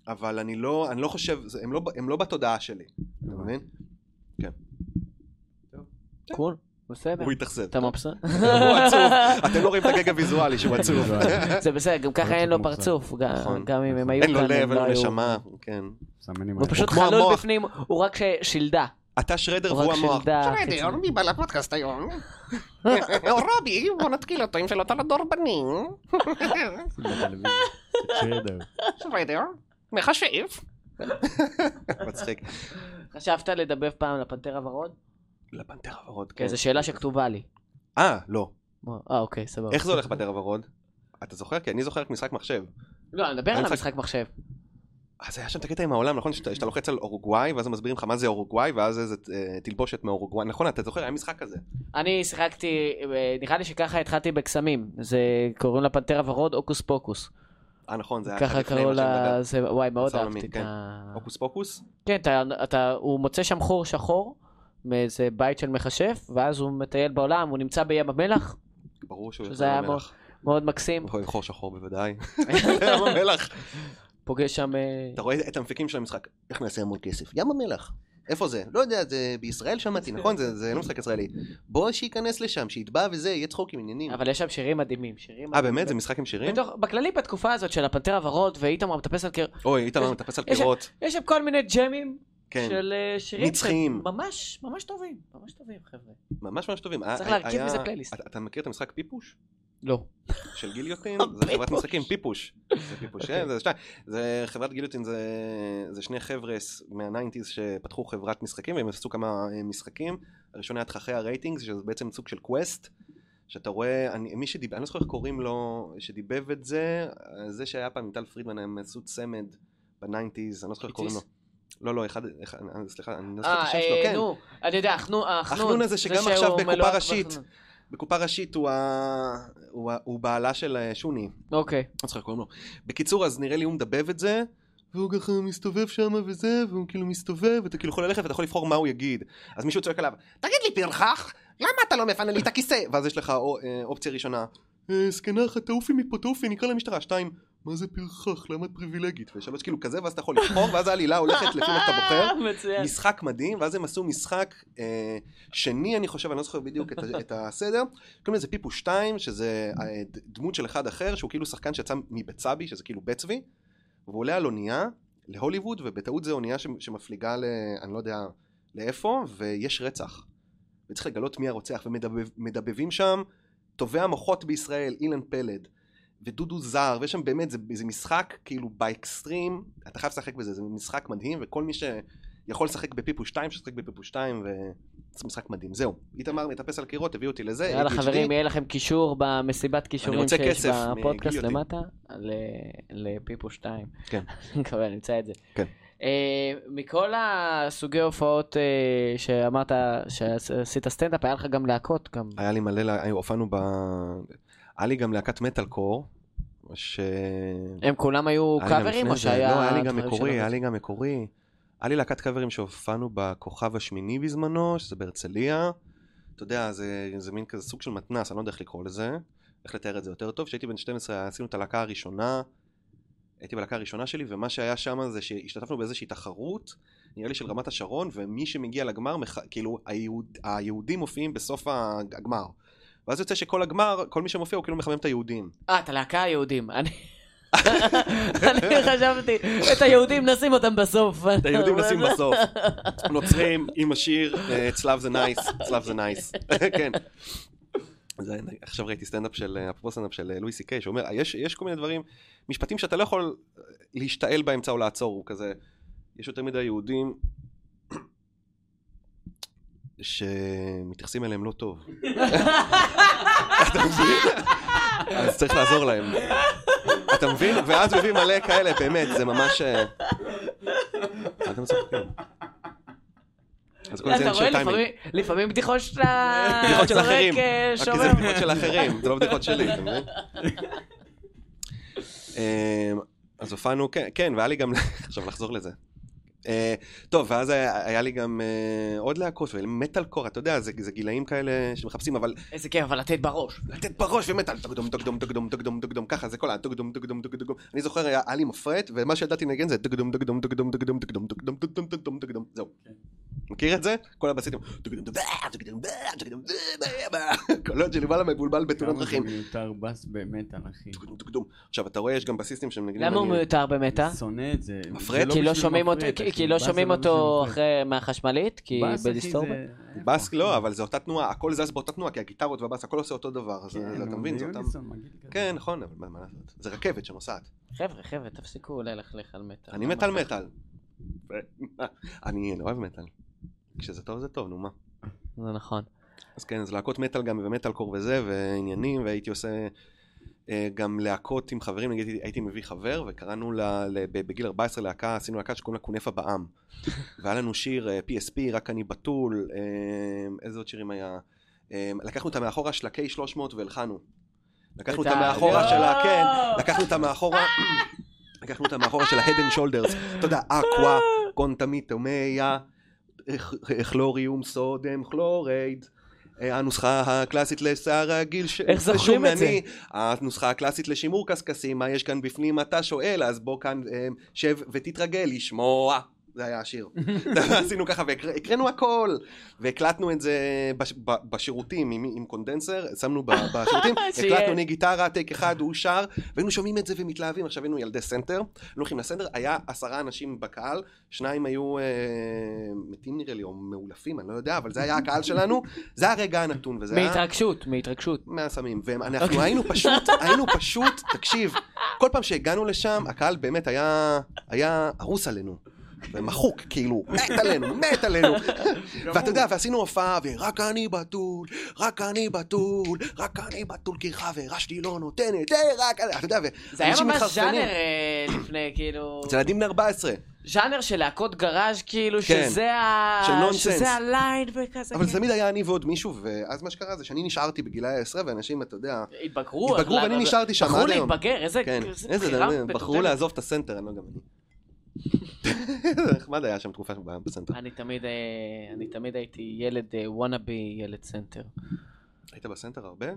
אבל אני לא, אני לא חושב, זה- הם לא, ב- הם לא בתודעה שלי, אתה מבין? קול, בסדר. הוא התאכזב. אתה מבסוט? הוא עצוב, אתם לא רואים את הגג הוויזואלי שהוא עצוב. זה בסדר, גם ככה אין לו מוגזם. פרצוף, גם- נכון. גם אם הם היו כאן, אין לו הם לב, אין לא לו היו. נשמה, כן. סמנים הוא עליהם. פשוט כמו חלול המוח. בפנים, הוא רק ש- שילדה. אתה שרדר הוא והוא רק המוח. שילדה. חיצונית. בסדר, מי בא לפודקאסט היום? או רובי, בוא נתקיל אותו עם שאלות על הדורבנים. בסדר. בסדר, מחשב. מצחיק. חשבת לדבב פעם לפנתר הוורוד? לפנתר הוורוד, כן. כן, זו שאלה שכתובה לי. אה, לא. אה, אוקיי, סבבה. איך זה הולך בפנתר הוורוד? אתה זוכר? כי אני זוכר רק משחק מחשב. לא, אני מדבר על המשחק- המשחק מחשב. אז אה, היה שם את הקטע עם העולם, נכון? שאתה שאתה לוחץ על אורוגוואי, ואז הם מסבירים לך מה זה אורוגוואי, ואז איזה אה, תלבושת מאורוגוואי. נכון, אתה זוכר? היה משחק כזה. אני שיחקתי, אה, נראה לי שככה התחלתי בקסמים. זה, קוראים לה פנתר הוורוד הוקוס פוקוס. אה, נכון, זה היה אחד ככה לפני קראו מה לה, שמדבר. זה, וואי, מאוד מצב עולמי, אהבתי את כן. ה... הוקוס פוקוס? כן, אתה, אתה, הוא מוצא שם חור שחור מאיזה בית של מכשף, ואז הוא מטייל בעולם, הוא נמצא בים המלח, ברור שהוא שזה יכול היה למלח. מאוד מקסים. הוא יכול חור שחור בוודאי. ים המלח. פוגש שם... אה, אתה רואה את המפיקים של המשחק. איך נעשה המון כסף? ים המלח. איפה זה? לא יודע, זה בישראל שמעתי, נכון? זה זה לא משחק ישראלי. בוא שייכנס לשם, שיתבע וזה, יהיה צחוק עם עניינים. אבל יש שם שירים מדהימים, שירים... אה, מדהימים. באמת? זה משחק עם שירים? בתוך, בכללי בתקופה הזאת של הפנתר הוורוד ואיתמר מטפס על קיר, אוי, איתמר יש- מטפס על יש- קירות. יש שם כל מיני ג'מים כן, של אה, שירים. נצחיים. ממש, ממש טובים, ממש טובים חבר'ה. ממש ממש טובים. צריך היה- להרכיב אה, היה- מזה פלייליסט. אתה- אתה מכיר את המשחק פיפוש? לא. של גיליוטין, זה חברת פיפוש. משחקים, פיפוש. זה פיפוש, כן, זה שתיים. זה חברת גיליוטין, זה, זה שני חבר'ס מהניינטיז שפתחו חברת משחקים, והם עשו כמה אה, משחקים. הראשון היה תככי הרייטינג, שזה בעצם סוג של קווסט, שאתה רואה, אני, מי שדיבב, אני לא זוכר איך קוראים לו, שדיבב את זה, אה, זה שהיה פעם עם טל פרידמן, הם עשו צמד בניינטיז, אני לא זוכר איך קוראים לו. לא, לא, אחד, אחד אה, סליחה, אני לא זוכר את השם שלו, אה, כן. נו, אני יודע, החנו- החנון. החנון הזה שגם שהוא עכשיו בקופה מלוהק ראשית. בחנון. בקופה ראשית הוא, ה... הוא, ה... הוא בעלה של אה, שוני. אוקיי. לא זוכר קוראים לו. בקיצור, אז נראה לי הוא מדבב את זה, והוא ככה מסתובב שם וזה, והוא כאילו מסתובב, ואתה כאילו יכול ללכת ואתה יכול לבחור מה הוא יגיד. אז מישהו צועק עליו, תגיד לי פרחח, למה אתה לא מפנה לי את הכיסא? ואז יש לך או- אה, אופציה ראשונה, "אה, זקנה אחת תעופי מפה תעופי, נקרא למשטרה. שתיים, מה זה פרחח? למה את פריבילגית? ושלוש כאילו כזה, ואז אתה יכול לבחור, ואז העלילה הולכת לפי מה שאתה בוחר. מצוין. משחק מדהים, ואז הם עשו משחק אה, שני, אני חושב, אני לא זוכר בדיוק את, ה- את הסדר. קוראים לזה פיפו 2, שזה אה, ד- דמות של אחד אחר, שהוא כאילו שחקן שיצא מבצבי, שזה כאילו בצבי, והוא עולה על אונייה להוליווד, ובטעות זו אונייה ש- שמפליגה ל... אני לא יודע לאיפה, ויש רצח. וצריך לגלות מי הרוצח, ומדבבים שם טובי המוחות בישראל, אילן פלד. ודודו זר, ויש שם באמת, זה, זה משחק כאילו באקסטרים, אתה חייב לשחק בזה, זה משחק מדהים, וכל מי ש... יכול לשחק בפיפו 2, שישחק בפיפו 2, וזה משחק מדהים. זהו, איתמר מטפס על קירות, הביא אותי לזה. יאללה ADHD. חברים, יהיה לכם קישור במסיבת כישורים רוצה שיש כסף בפודקאסט מגיליוטין. למטה, ל- לפיפו 2. כן. אני מקווה, נמצא את זה. כן. אה, מכל הסוגי הופעות אה, שאמרת, שעשית סטנדאפ, היה לך גם להקות גם. היה לי מלא, לה- היו- הופענו ב... היה לי גם להקת מטאל קור, ש... הם כולם היו היה לי גם קאברים לפני כאילו או זה- שהיה... לא, היה לי גם דברים מקורי, שלא? היה לי גם מקורי. היה לי להקת קאברים שהופענו בכוכב השמיני בזמנו, שזה בהרצליה. אתה יודע, זה, זה מין כזה סוג של מתנס, אני לא יודע איך לקרוא לזה, איך לתאר את זה יותר טוב. כשהייתי בן 12 עשינו את הלהקה הראשונה, הייתי בלהקה הראשונה שלי, ומה שהיה שם זה שהשתתפנו באיזושהי תחרות, נראה לי של רמת השרון, ומי שמגיע לגמר, מח... כאילו היהוד... היהודים מופיעים בסוף הג- הגמר. ואז יוצא שכל הגמר, כל מי שמופיע הוא כאילו מחמם את היהודים. אה, את הלהקה היהודים. אני אני חשבתי, את היהודים נשים אותם בסוף. את היהודים נשים בסוף. נוצרים עם השיר, אה, צלב זה נייס, צלב זה נייס. כן. זה- עכשיו ראיתי סטנדאפ של, אה, אפרופו סטנדאפ של אה, לואי סי קיי, שאומר, "אה, יש, יש כל מיני דברים, משפטים שאתה לא יכול להשתעל באמצע או לעצור, הוא כזה, יש יותר מדי יהודים שמתייחסים אליהם לא טוב. אתה מבין? אז צריך לעזור להם. אתה מבין? ואז מביאים מלא כאלה, באמת, זה ממש... אה, מה אתם צוחקים? אז כל אתה זה עניין רואה, של טיימינג. לפעמים- לפעמים בדיחות שאתה... בדיחות של זורק, אחרים. אה, רק כי שומר. זה בדיחות של אחרים, זה לא בדיחות שלי, אתה מבין? אה, אמ, אז הופענו, כן- כן, והיה לי גם, עכשיו לחזור לזה. אה, טוב, ואז היה, היה לי גם אה, עוד להקות, מטאל קור, אתה יודע, זה, זה גילאים כאלה שמחפשים, אבל איזה כיף, אבל לתת בראש. לתת בראש ומטאל, טוקדום, טוקדום, טוקדום, טוקדום, טוקדום, ככה זה כל ה... טוקדום, טוקדום, טוקדום. אני זוכר, היה היה לי מפרט, ומה שידעתי לנגן זה טוקדום, טוקדום, טוקדום, טוקדום, טוקדום, טוקדום, טוקדום, טוקדום, טוקדום, זהו. כן. מכיר את זה? כל הבסיסים, טוקדום, טוקדום, טוקדום, טוקדום, טוקדום, קולות של יובל המבולבל בתאונות כמה זה דרכים. מיותר בס במטאל, אחי. טוקדום, טוקדום. עכשיו, אתה רואה, יש גם בסיסטים שהם נגנים... למה הוא אני- מיותר במטה? אני שונא את זה. מפרט? זה כי לא בשביל שומעים אותו- מפרט, כי- אחי. כי לא בס זה שומעים לא אותו בשביל אחרי מהחשמלית, כי מפרט. בס, אחי, בדיסטורבן. זה- בס לא, אבל זה אותה תנועה, הכל זז באותה תנועה, כי הגיטרות והבס, הכל עושה אותו דבר. אז כן, אתה אבל מבין, זה זה אותם... יוניסון, מגעיל כזה. כן, נכון, אבל מה- מה לעשות? זה רכבת שנוסעת. חבר'ה, חבר'ה, תפסיקו ללכלך על מטאל. אני מת על מטאל. אני לא אוהב מטאל. כשזה טוב זה טוב, נו מה. זה נכון. אז כן, אז להקות מטאל גם, ומטאל קור וזה, ועניינים, והייתי עושה אה, גם להקות עם חברים, נגיד הייתי מביא חבר, וקראנו לה, ל- ב- בגיל 14 להקה, עשינו להקה שקוראים לה כונפה בעם. והיה לנו שיר אה, PSP, רק אני בתול, אה, איזה עוד שירים היה? אה, לקחנו את המאחורה של ה-K300 והלחנו. לקחנו את את ה- המאחורה של ה... לא! כן, לקחנו את המאחורה... לקחנו את המאחורה של ה-Head and Shoulders, אתה יודע, אקווה, קונטמיטו, מיה, כלוריום, סודם, כלורייד. אה, הנוסחה הקלאסית לשיער רגיל ש... איך זוכרים את זה? ושומני. הנוסחה הקלאסית לשימור קשקשים, מה יש כאן בפנים אתה שואל, אז בוא כאן אה, שב ותתרגל לשמוע. זה היה השיר. עשינו ככה והקראנו הכל. והקלטנו את זה בש, ב, בשירותים עם, עם קונדנסר, שמנו ב, בשירותים, שיהיה. הקלטנו אני גיטרה, טייק אחד, הוא שר, והיינו שומעים את זה ומתלהבים, עכשיו היינו ילדי סנטר, היינו הולכים לסנטר, היה עשרה אנשים בקהל, שניים היו אה, מתים נראה לי, או מאולפים, אני לא יודע, אבל זה היה הקהל שלנו, זה היה הרגע הנתון, וזה היה... מהתרגשות, מהתרגשות. מהסמים, אוקיי. ואנחנו היינו פשוט, היינו פשוט, תקשיב, כל פעם שהגענו לשם, הקהל באמת היה, היה הרוס עלינו. ומחוק, כאילו, מת עלינו, מת עלינו. ואתה יודע, ועשינו הופעה, ורק אני בתול, רק אני בתול, רק אני בתול, כי חברה שלי לא נותנת, אה, רק אני, אתה יודע, זה היה ואנשים ממש מתחרפנים. ז'אנר אה, לפני, כאילו... זה ילדים בני 14. ז'אנר של להקות גראז' כאילו, כן. שזה ה... של נונסנס. שזה הליין וכזה. אבל כן. זה תמיד היה אני ועוד מישהו, ואז מה שקרה זה שאני נשארתי בגילי העשרה, ואנשים, אתה יודע, התבגרו, התבגרו אז- ואני אז- נשארתי שם בחרו עד היום. להתבגר, איזה כן, איזה איזה כאילו, בחירה דברים, בחרו מטומטמת. לעזוב את הסנטר, אני לא גם אני. זה נחמד היה שם תקופה ב- בסנטר. אני תמיד, אה, אני תמיד הייתי ילד אה, וואנאבי ילד סנטר. היית בסנטר הרבה? אה,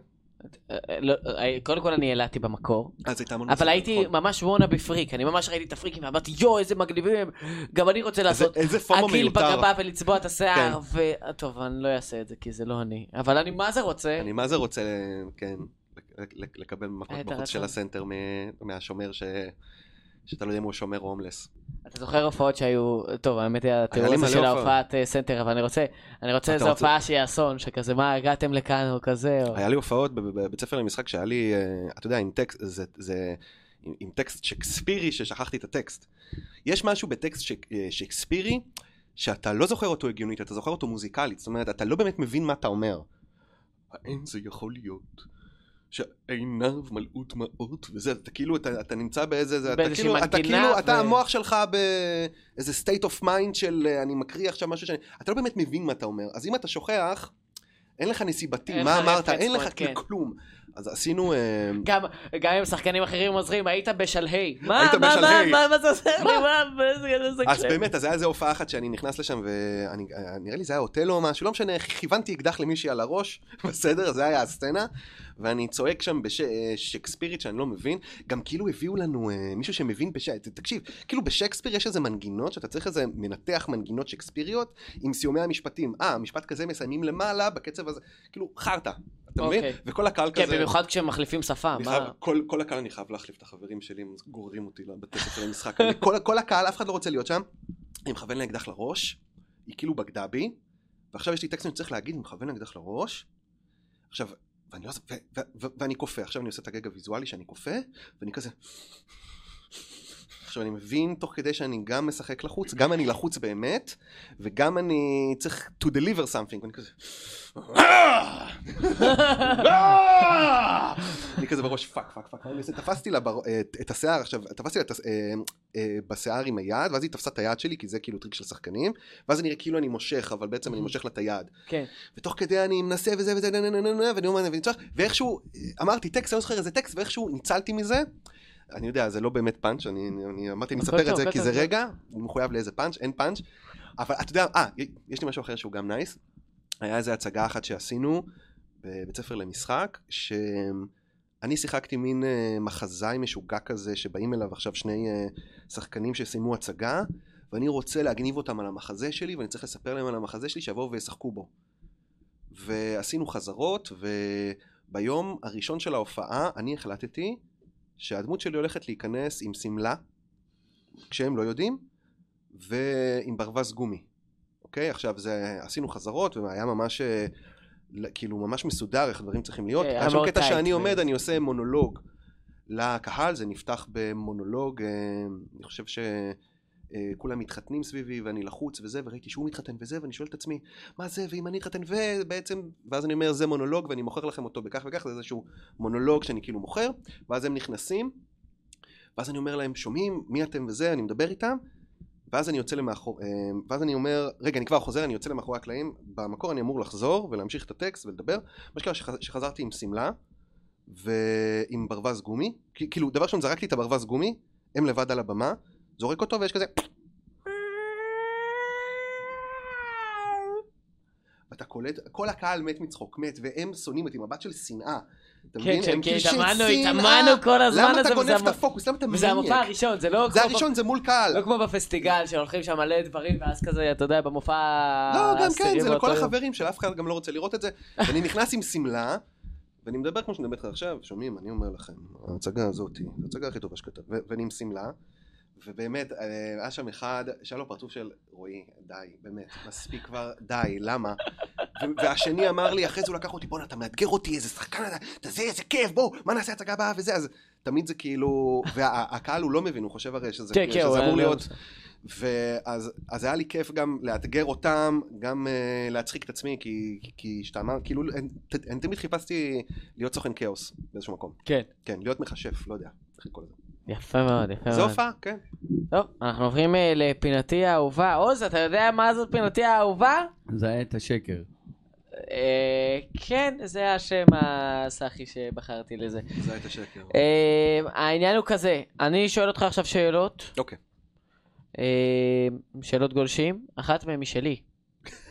אה, לא, אה, קודם כל אני ילדתי במקור, אז הייתה המון אבל בסנטר, הייתי נכון. ממש וואנאבי פריק, אני ממש ראיתי את הפריקים ואמרתי יואו איזה מגניבים הם, גם אני רוצה איזה- לעשות. איזה פומו עגיל מיותר. בגבה ולצבוע את השיער, כן. ו... טוב, אני לא אעשה את זה כי זה לא אני, אבל אני מה זה רוצה, אני מה זה רוצה, כן, לק- לק- לקבל מכות היית בחוץ של רצון. הסנטר מ- מהשומר ש... שאתה לא יודע אם הוא שומר או הומלס. אתה זוכר הופעות שהיו, טוב האמת היא התיאור לי הזה מלא של הופעות. ההופעת אה, סנטר, אבל אני רוצה, אני רוצה אתה איזו רוצה- הופעה שהיא אסון, שכזה מה הגעתם לכאן או כזה, או... היה לי הופעות בב- בבית ספר למשחק שהיה לי, אה, אתה יודע, עם טקסט, זה, זה עם, עם טקסט שקספירי ששכחתי את הטקסט. יש משהו בטקסט שק, אה, שקספירי שאתה לא זוכר אותו הגיונית, אתה זוכר אותו מוזיקלית, זאת אומרת, אתה לא באמת מבין מה אתה אומר. האם זה יכול להיות שעיניו מלאו דמעות וזה, אתה כאילו, אתה, אתה נמצא באיזה, זה, אתה באיזושהי כאילו, אתה מנגינה כאילו, אתה ו- המוח שלך באיזה state of mind של אה, אני מקריא עכשיו משהו שאני, אתה לא באמת מבין מה אתה אומר, אז אם אתה שוכח, אין לך נסיבתי, אין מה לך אמרת, reference אין לך point, כן. כלום. אז עשינו, אה, גם, גם אם שחקנים אחרים עוזרים, היית בשלהי. מה, היית מה, בשלהי. מה, מה, מה זה עוזר לי? מה, באיזה איזה אז קשה. באמת, אז היה איזה הופעה אחת שאני נכנס לשם, ונראה לי זה היה אוטלו או משהו, לא משנה, כיוונתי אקדח למישהי על הראש, בסדר, זה היה הסצנה, ואני צועק שם בשייקספירית שאני לא מבין, גם כאילו הביאו לנו אה, מישהו שמבין בש... ת- תקשיב, כאילו בשייקספיר יש איזה מנגינות, שאתה צריך איזה מנתח מנגינות שייקספיריות, עם סיומי המשפטים, אה, משפט כזה מסיימים למעלה, בקצב הזה, כאילו, חרטא, אתה מבין? אוקיי. וכל הקהל כן, כזה... במיוחד כשמחליפים שפה. אני מה? חייב, כל, כל הקהל אני חייב להחליף את החברים שלי, הם גוררים אותי לבתי ספר למשחק. אני- כל, כל הקהל, אף אחד לא רוצה להיות שם. אני מכוון לה אקדח לראש, היא כאילו בגדה בי, ועכשיו יש לי טקסט שאני צריך להגיד, אני מכוון לה אקדח לראש. עכשיו, ואני, לא, ו, ו, ו, ואני כופה, עכשיו אני עושה את הגג הוויזואלי שאני כופה, ואני כזה... עכשיו אני מבין תוך כדי שאני גם משחק לחוץ, גם אני לחוץ באמת, וגם אני צריך to deliver something, ואני כזה... אני כזה בראש פאק פאק פאק, אני עושה- תפסתי לה בר- אה, את- את השיער עכשיו, תפסתי לה את הש- אה, אה, בשיער עם היד, ואז היא תפסה את היד שלי, כי זה כאילו טריק של שחקנים, ואז זה נראה כאילו אני מושך, אבל בעצם אני מושך לה את היד. כן. ותוך כדי אני מנסה וזה וזה, נה, נה, נה, נה, נה, ואני אומר, ואני צועק, ואיכשהו, אה, אמרתי טקסט, אני לא זוכר איזה טקסט, ואיכשהו ניצלתי מזה, אני יודע, זה לא באמת פאנץ', אני, אני, אני אמרתי, אני הכל אספר את טוב, זה כי בטח, זה בטח. רגע, הוא מחויב לאיזה פאנץ', אין פאנץ', אבל אתה יודע, אה, יש לי משהו אחר שהוא גם נייס. היה איזו הצגה אחת שעשינו בבית ספר למשחק, שאני שיחקתי מין אה, מחזאי משוגע כזה, שבאים אליו עכשיו שני אה, שחקנים שסיימו הצגה, ואני רוצה להגניב אותם על המחזה שלי, ואני צריך לספר להם על המחזה שלי, שיבואו וישחקו בו. ועשינו חזרות, וביום הראשון של ההופעה אני החלטתי שהדמות שלי הולכת להיכנס עם שמלה, כשהם לא יודעים, ועם ברווז גומי. אוקיי? עכשיו זה, עשינו חזרות, והיה ממש, אה, ל- כאילו, ממש מסודר איך הדברים צריכים להיות. כן, היה שם מאוד קטע טייט, שאני ו- עומד, אני עושה מונולוג לקהל, זה נפתח במונולוג, אה, אני חושב ש... אה, כולם מתחתנים סביבי ואני לחוץ וזה וראיתי שהוא מתחתן וזה ואני שואל את עצמי מה זה ואם אני אתחתן ובעצם ואז אני אומר זה מונולוג ואני מוכר לכם אותו בכך וכך זה איזשהו מונולוג שאני כאילו מוכר ואז הם נכנסים ואז אני אומר להם שומעים מי אתם וזה אני מדבר איתם ואז אני יוצא למאחור אה, ואז אני אומר רגע אני כבר חוזר אני יוצא למאחורי הקלעים במקור אני אמור לחזור ולהמשיך את הטקסט ולדבר מה שקרה שחז- שחזרתי עם שמלה ועם ברווז גומי כ- כאילו דבר ראשון זרקתי את הברווז גומי הם לבד על הבמה זורק אותו ויש כזה ואתה קולט, כל הקהל מת מצחוק, מת, והם שונאים אותי, מבט של שנאה. אתה כן, מבין? כן, הם כן, כאילו של התאמנו, שנאה. התאמנו כל הזמן למה הזה, אתה וזה גונב את המופע- הפוקוס? למה אתה וזה המופע מניאק? הראשון, זה לא זה כמו הראשון, זה מול קהל. לא כמו בפסטיגל, שהולכים שם מלא דברים, ואז כזה, אתה יודע, במופע... לא, גם העשירי כן, זה באותו לכל יום. החברים של אף אחד גם לא רוצה לראות את זה. אני נכנס עם שמלה, ואני מדבר כמו שאני מדבר איתך עכשיו, שומעים, אני אומר לכם, ההצגה הזאת, היא ההצגה הכי טובה שכתב, ו- ואני עם שמלה. ובאמת, אה, היה שם אחד, שהיה לו פרצוף של רועי, די, באמת, מספיק כבר, די, למה? ו- והשני אמר לי, אחרי זה הוא לקח אותי, בואנה, אתה מאתגר אותי, איזה שחקן אתה, אתה זה, איזה כיף, בוא, מה נעשה הצגה הבאה וזה, אז תמיד זה כאילו, והקהל הוא לא מבין, הוא חושב הרי שזה כן, כאילו, כן, הוא שזה היה אמור לא להיות בסדר. ואז אז היה לי כיף גם לאתגר אותם, גם uh, להצחיק את עצמי, כי, כי השתעמם, כאילו, אני, אני תמיד חיפשתי להיות סוכן כאוס באיזשהו מקום. כן. כן, להיות מכשף, לא יודע, איך לקרוא לזה. יפה מאוד, יפה מאוד. זה הופעה, כן. טוב, אנחנו עוברים אה, לפינתי האהובה. עוז, אתה יודע מה זאת פינתי האהובה? זה היה את השקר. אה, כן, זה השם הסאחי שבחרתי לזה. זה הייתה שקר. אה, העניין הוא כזה, אני שואל אותך עכשיו שאלות. אוקיי. אה, שאלות גולשים, אחת מהן היא שלי.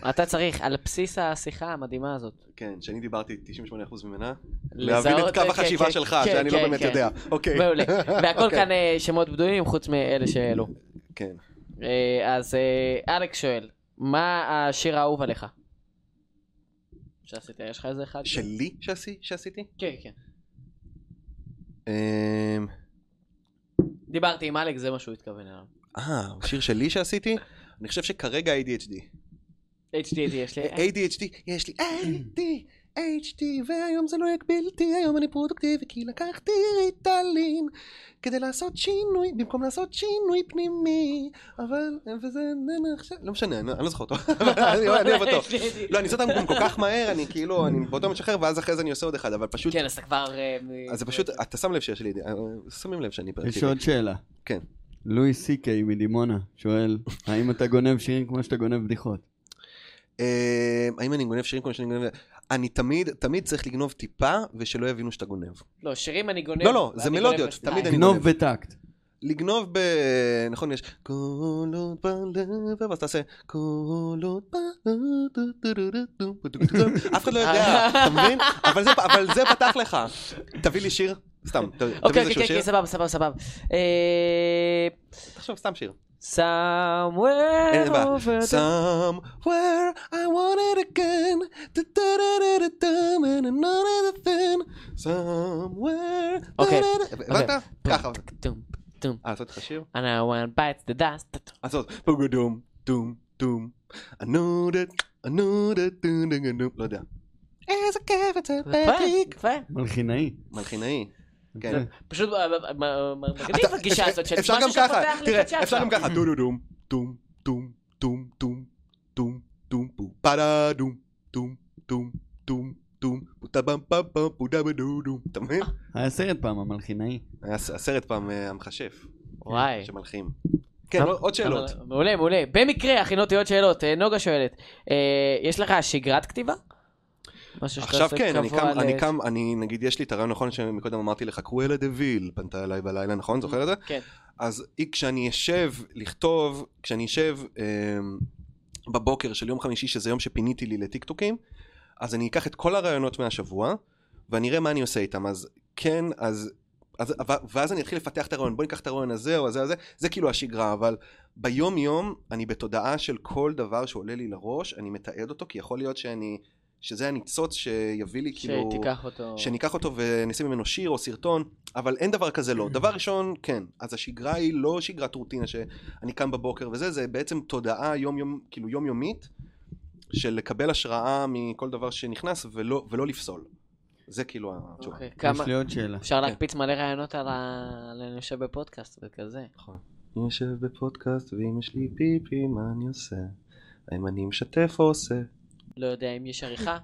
אתה צריך, על בסיס השיחה המדהימה הזאת, כן, שאני דיברתי 98% ממנה, לזהות- להבין את קו כן, החשיבה כן, שלך, כן, שאני לא כן, באמת כן. יודע. אוקיי. מעולה. והכל אוקיי. כאן אה, שמות בדויים, חוץ מאלה שהעלו. כן. אה, אז אה, אלכס שואל, מה השיר האהוב עליך? שעשית, יש לך איזה אחד? שלי שעשי- שעשיתי? כן, כן. אמ, דיברתי עם אלכס, זה מה שהוא התכוון אליו. אה, שיר שלי שעשיתי? אני חושב שכרגע ADHD. HDT יש אה, לי. ADHD, יש לי ADHD, והיום זה לא יגבילתי, היום אני פרודוקטיבי, כי לקחתי ריטלין כדי לעשות שינוי, במקום לעשות שינוי פנימי, אבל, וזה, ננה, עכשיו, לא משנה, אני אני לא זוכר אותו, אבל אני אני אוהב אותו. HDT. לא, אני עושה אותם גם כל כך מהר, אני כאילו, אני באותו משחרר, ואז אחרי זה אני עושה עוד אחד, אבל פשוט, כן, אז אתה כבר... אה, מ- אז זה פשוט, אתה שם לב שיש לי, שמים לב שאני יש אוקיי. פרטיבי. עוד שאלה. כן. לואי סי-קיי מדימונה שואל, האם אתה גונב שירים כמו שאתה גונב בדיחות? אה, האם אני גונב שירים כמו שאני גונב? אני תמיד, תמיד צריך לגנוב טיפה, ושלא יבינו שאתה גנב. לא, שירים אני גונב. לא, לא, ואני זה גונב מלודיות, בסטייל. תמיד אני גנוב גונב. וטקט. לגנוב ב... נכון, יש כל עוד בלב, ואז תעשה כל עוד בלב, אף אחד לא אה. יודע, אתה מבין? אבל זה- אבל זה פתח לך. תביא לי שיר, סתם, ת- תביא אוקיי, איזשהו אוקיי, שיר, כן, סבבה, סבבה, סבבה. אה, תחשוב סתם שיר. אין Somewhere בעיה. over the... Somewhere I want it again, Da-da-da-da-dum, and another thing. Somewhere, אוקיי, da-da-da- הבנת? ככה. טום, טום. אה, לעשות לך שיר? And I want bites the dust. אז עוד, בוגדום, דום, דום, I know that, I know that, דום, דום, דום, לא יודע. איזה כיף אצל פטריק. יפה, יפה. מלחינאי. מלחינאי. כן. זה- פשוט אה, אה, אה, מגניב אתה- הגישה אפשר- הזאת של אפשר משהו גם ככה, שפותח לי את תראה, הצ'אקרה. אפשר גם ככה, דום, דום, דום, דום, דום, דום, דום, דום, דום, בום, פדה, דום, דום, דום, דום, דום, בוטה במ פם פם, בודה בדו דום. אתה אה. מבין? היה סרט פעם, המלחינאי. היה ס- הסרט פעם אה, המכשף, וואי. שמלחים. כן, עוד- עוד שאלות. אבל- מעולה, מעולה. אה, במקרה, הכינותי עוד שאלות. אה, נוגה שואלת, אה, יש לך שגרת כתיבה? משהו שאתה עכשיו עושה כן, אני קבוע קם, ל- אני קם, אני נגיד, יש לי את הרעיון נכון שמקודם אמרתי לך, קרואלה דה ויל פנתה אליי בלילה, נכון? זוכר את זה? כן. אז היא- כשאני אשב לכתוב, כשאני אשב אה, בבוקר של יום חמישי, שזה יום שפיניתי לי לטיקטוקים, אז אני אקח את כל הרעיונות מהשבוע, ואני אראה מה אני עושה איתם. אז כן, אז... אז, ו- ואז אני אתחיל לפתח את הרעיון, בוא ניקח את הרעיון הזה או הזה, הזה, זה כאילו השגרה, אבל ביום יום אני בתודעה של כל דבר שעולה לי לראש, אני מתעד אותו, כי יכול להיות שאני, שזה הניצוץ שיביא לי כאילו... שתיקח אותו. שניקח אותו ונשים ממנו שיר או סרטון, אבל אין דבר כזה לא. דבר ראשון, כן. אז השגרה היא לא שגרת רוטינה שאני קם בבוקר וזה, זה בעצם תודעה יום יום, כאילו יומיומית, של לקבל השראה מכל דבר שנכנס ולא, ולא לפסול. זה כאילו התשובה. אוקיי, יש כמה... לי עוד שאלה. כן. אפשר להקפיץ מלא רעיונות על ה... על אני יושב בפודקאסט וכזה. אני יושב בפודקאסט ואם יש לי פיפי, מה אני עושה? האם אני משתף או עושה? לא יודע אם יש עריכה,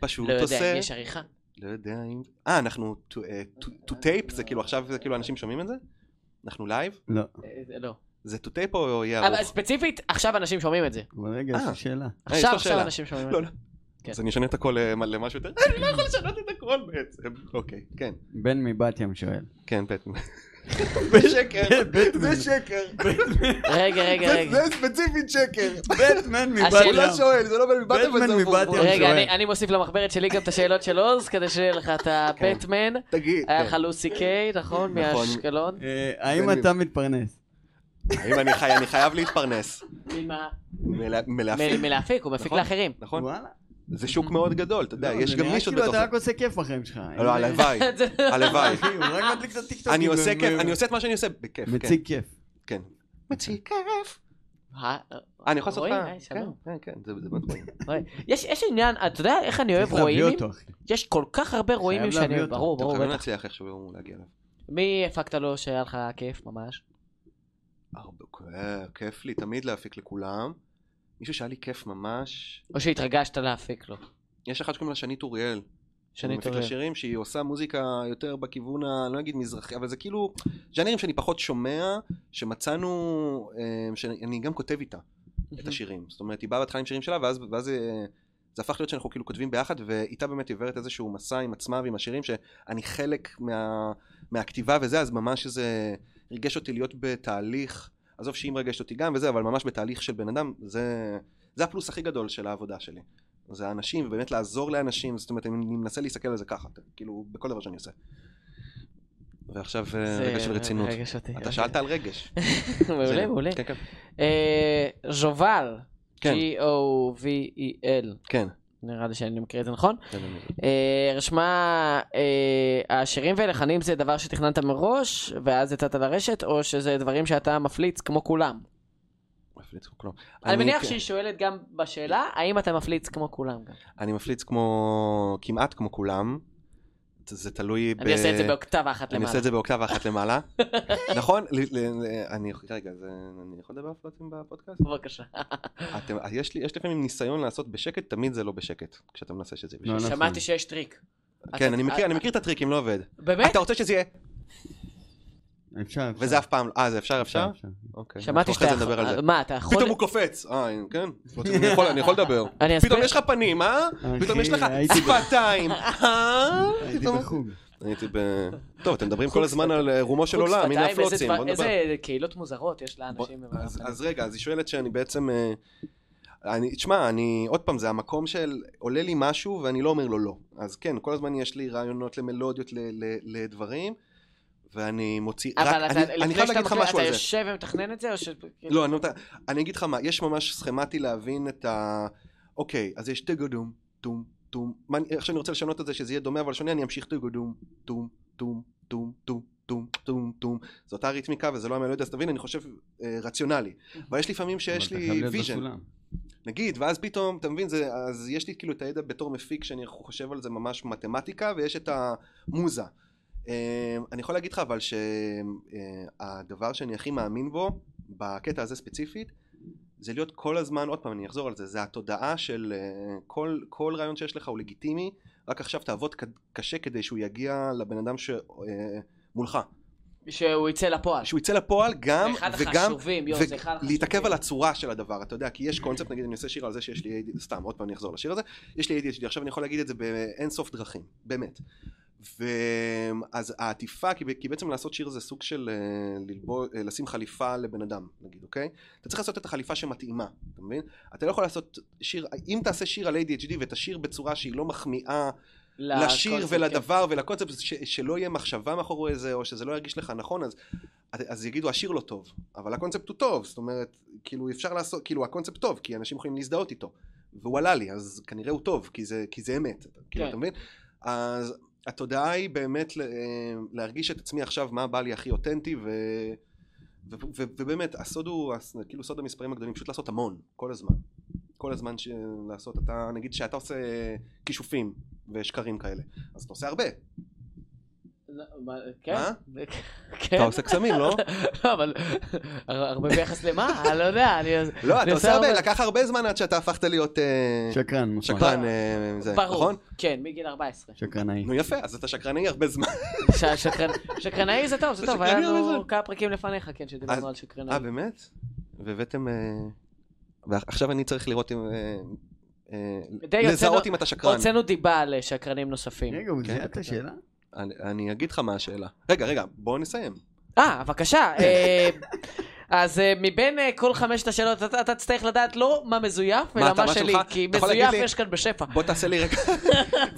פשוט לא יודע עושה. אם יש עריכה. לא יודע אם... אה, אנחנו... to- אה, to- to tape, זה כאילו עכשיו, זה כאילו אנשים שומעים את זה? אנחנו לייב? לא, אה, זה לא. זה to tape או יהיה אבל ארוך? ספציפית, עכשיו אנשים שומעים את זה. אבל רגע, יש אה. לי שאלה. אה, יש עכשיו לו עכשיו שאלה. אנשים שומעים את לא, זה. לא. כן. אז אני אשנה את הכל אה, מה- למשהו יותר... אני לא יכול לשנות את הכל בעצם. אוקיי, כן. בן מבת ים שואל. כן, בטמן. בשקר. זה שקר. רגע, רגע, לא. זה- רגע. זה ספציפית שקר. בטמן מבת הוא לא ים. שואל, זה לא בן מבט בטמן אבל זה מבת הוא- ים. רגע, שואל. אני- אני מוסיף למחברת שלי גם את השאלות של עוז, כדי שיהיה לך את הבטמן. תגיד. היה כן. לך לוסי קיי, נכון? נכון. מאשקלון. אה, האם בן אתה מתפרנס? האם אני חי- אני חייב להתפרנס. ממה? מלה- מלהפיק. מ- מלהפיק, הוא מפיק נכון. לאחרים. נכון? וואלה. זה שוק מאוד גדול, אתה יודע, לא, יש זה גם נראה נישות כאילו בתוך אתה זה. רק עושה כיף בחיים שלך. אין- לא, הלוואי, זה- הלוואי. אחי, הוא רק מדליק את הטיקטוקים. אני עושה ו- כיף, אני עושה את מה שאני עושה בכיף, כן. מציג כיף. כן. מציג כיף. אה, אה, אני יכול לעשות לך... רועי, היי, שלום. כן, כן, כן, זה זה מאוד טוב. רועי. יש יש עניין, אתה יודע איך אני אוהב צריך להביא כן. רואים? אותו, אחי. יש כל כך הרבה רואים שאני להביא אוהב, אותו. ברור, אתם ברור, חייבים בטח. להצליח לא איכשהו היום להגיע אליו. מי הפקת לו שהיה לך כיף ממש? הרבה, אה, כיף לי תמיד להפיק לכולם. מישהו שהיה לי כיף ממש. או שהתרגשת להפיק לו? יש אחת שקוראים לה שנית אוריאל. שאני שאני מפיק טועה. לה שירים שהיא עושה מוזיקה יותר בכיוון ה... אני לא אגיד מזרחי, אבל זה כאילו ז'אנרים שאני פחות שומע, שמצאנו... אה, שאני גם כותב איתה את השירים. זאת אומרת, היא באה בהתחלה עם שירים שלה, ואז, ואז אה, זה הפך להיות שאנחנו כאילו כותבים ביחד, ואיתה באמת היא עוברת איזשהו מסע עם עצמה ועם השירים, שאני חלק מה, מהכתיבה וזה, אז ממש זה ריגש אותי להיות בתהליך, עזוב שהיא מרגשת אותי גם וזה, אבל ממש בתהליך של בן אדם, זה, זה הפלוס הכי גדול של העבודה שלי. זה האנשים, ובאמת לעזור לאנשים, זאת אומרת, אני מנסה להסתכל על זה ככה, כאילו, בכל דבר שאני עושה. ועכשיו אה, זה רגע של רצינות. מרגש אותי. אתה שאלת על רגש. מעולה, זה- מעולה. כן, כן. אה, ז'ובל, כן. G-O-V-E-L, כן. E נראה לי שאני מקריא את זה נכון. כן, אני- אה, רשמה, אה, השירים והלחנים זה דבר שתכננת מראש, ואז יצאת לרשת, או שזה דברים שאתה מפליץ כמו כולם? מפליץ כמו כלום. אני מניח כן. שהיא שואלת גם בשאלה, האם אתה מפליץ כמו כולם גם? אני מפליץ כמו... כמעט כמו כולם. זה תלוי ב... אני אעשה את זה באוקטבה אחת אני למעלה. עושה את זה באוקטבה אחת למעלה. נכון? ל- ל- ל- אני... רגע, זה... אני יכול לדבר פלוטים בפודקאסט? בבקשה. אתם- יש לי יש לפעמים ניסיון לעשות בשקט, תמיד זה לא בשקט. כשאתה מנסה שזה יהיה לא, בשקט. נכון. שמעתי שיש טריק. כן, אתה- אני מכיר- אני מכיר את הטריקים, לא עובד. באמת? אתה רוצה שזה יהיה... אפשר, אפשר. וזה אף פעם... אה, זה כן. אפשר, אפשר? אפשר. אוקיי. שמעתי אנחנו שאתה אחרי זה נדבר על זה. יכול... מה, אתה יכול... פתאום הוא קופץ, אה, כן, אני יכול- אני יכול לדבר. אני אסביר. פתאום יש לך פנים, אה? פתאום יש לך הייתי ב- שפתיים, אה? הייתי פתאום- בחוג. הייתי ב... טוב, אתם מדברים כל הזמן על אה, רומו של חוץ עולם, הנה שפתיים, איזה הפלוצים, דבר- בוא נדבר. איזה קהילות מוזרות יש בוא- לאנשים. עם אז- הרבנים. אז רגע, אז היא שואלת שאני בעצם... אה, אני, תשמע, אני, עוד פעם, זה המקום של עולה לי משהו ואני לא אומר לו לא. אז כן, כל הזמן יש לי רעיונות למלודיות, ל, ל, לדברים, ואני מוציא... אבל רק- אתה, אני, אני לפני שאתה חייב להגיד לך מקריא, משהו אתה על זה. יושב ומתכנן את זה, או ש... לא, אני, לא, מת- אני אגיד לך מה, יש ממש סכמטי להבין את ה... אוקיי, אז יש טגדום, טום, טום. מה אני- איך שאני רוצה לשנות את זה, שזה יהיה דומה, אבל שונה, אני אמשיך טגדום, טום, טום, טום, טום, טום, טום, טום. זו אותה ריתמיקה וזה לא המלודיה, אז תבין, אני חושב אה, רציונלי. אבל יש לפעמים שיש אבל אתה חייב לי להיות ויז'ן. בסולם. נגיד, ואז פתאום, אתה מבין, זה, אז יש לי כאילו את הידע בתור מפיק שאני חושב על זה ממש מתמטיקה, ויש את המוזה. אמ, אני יכול להגיד לך אבל שהדבר שאני הכי מאמין בו, בקטע הזה ספציפית, זה להיות כל הזמן, עוד פעם אני אחזור על זה, זה התודעה של אה, כל, כל רעיון שיש לך הוא לגיטימי, רק עכשיו תעבוד ק- קשה כדי שהוא יגיע לבן אדם שמולך. שהוא יצא לפועל. אה, שהוא יצא לפועל גם, זה אחד וגם, החשובים, יואו, זה אחד החשובים. ולהתעכב על הצורה של הדבר, אתה יודע, כי יש קונספט, נגיד אני עושה שיר על זה שיש לי ADHD, סתם, עוד פעם אני אחזור לשיר הזה, יש לי ADHD, עכשיו אני יכול להגיד את זה באינסוף דרכים, באמת. ואז העטיפה, כי, ב- כי בעצם לעשות שיר זה סוג של אה, ללבו, אה, לשים חליפה לבן אדם, נגיד, אוקיי? אתה צריך לעשות את החליפה שמתאימה, אתה מבין? אתה לא יכול לעשות שיר, אם תעשה שיר על ADHD ותשיר בצורה שהיא לא מחמיאה לשיר לקונספט, כן. ולדבר ולקונספט, ש- שלא יהיה מחשבה מאחורי זה, או שזה לא ירגיש לך נכון, אז, אז יגידו השיר לא טוב, אבל הקונספט הוא טוב, זאת אומרת, כאילו אפשר לעשות, כאילו הקונספט טוב, כי אנשים יכולים להזדהות איתו, והוא עלה לי, אז כנראה הוא טוב, כי זה, כי זה אמת, כאילו, כן. אתה מבין? אז התודעה היא באמת ל- אה, להרגיש את עצמי עכשיו, מה בא לי הכי אותנטי, ו... ו- ו- ובאמת הסוד הוא הס- כאילו סוד המספרים הגדולים פשוט לעשות המון כל הזמן כל הזמן ש- לעשות אתה נגיד שאתה עושה כישופים ושקרים כאלה אז אתה עושה הרבה כן. לא, מה, כן. מה? כן. אתה עושה קסמים לא? לא, אבל הר- הרבה ביחס למה? אני לא יודע, אני... אני לא אתה עושה הרבה לקח הרבה זמן עד שאתה הפכת להיות אה, שקרן, מוסמך. שקרן אה, זה ברור. נכון? כן, מגיל 14. שקרנאי. נו יפה אז אתה שקרני הרבה זמן ש- שקרן- שקרנאי זה טוב, זה טוב, שקרני היה הרבה לנו זמן. כמה פרקים לפניך, כן, אז- שדיברנו על שקרנאי. אה באמת? והבאתם אה, ועכשיו אני צריך לראות אם אה, אה, די לזהות הוצאנו- אם אתה שקרן הוצאנו דיבה על שקרנים נוספים. רגע, הוא כן, זיהה את בבקשה. השאלה? אני- אני אגיד לך מה השאלה רגע רגע בוא נסיים אה, בבקשה. אה, אז אה, מבין אה, כל חמשת השאלות, אתה אתה תצטרך לדעת לא מה מזויף, מה אלא אתה- מה מה שלי, שלך? כי אתה יכול להגיד מזויף לי- יש כאן בשפע. בוא תעשה לי רגע,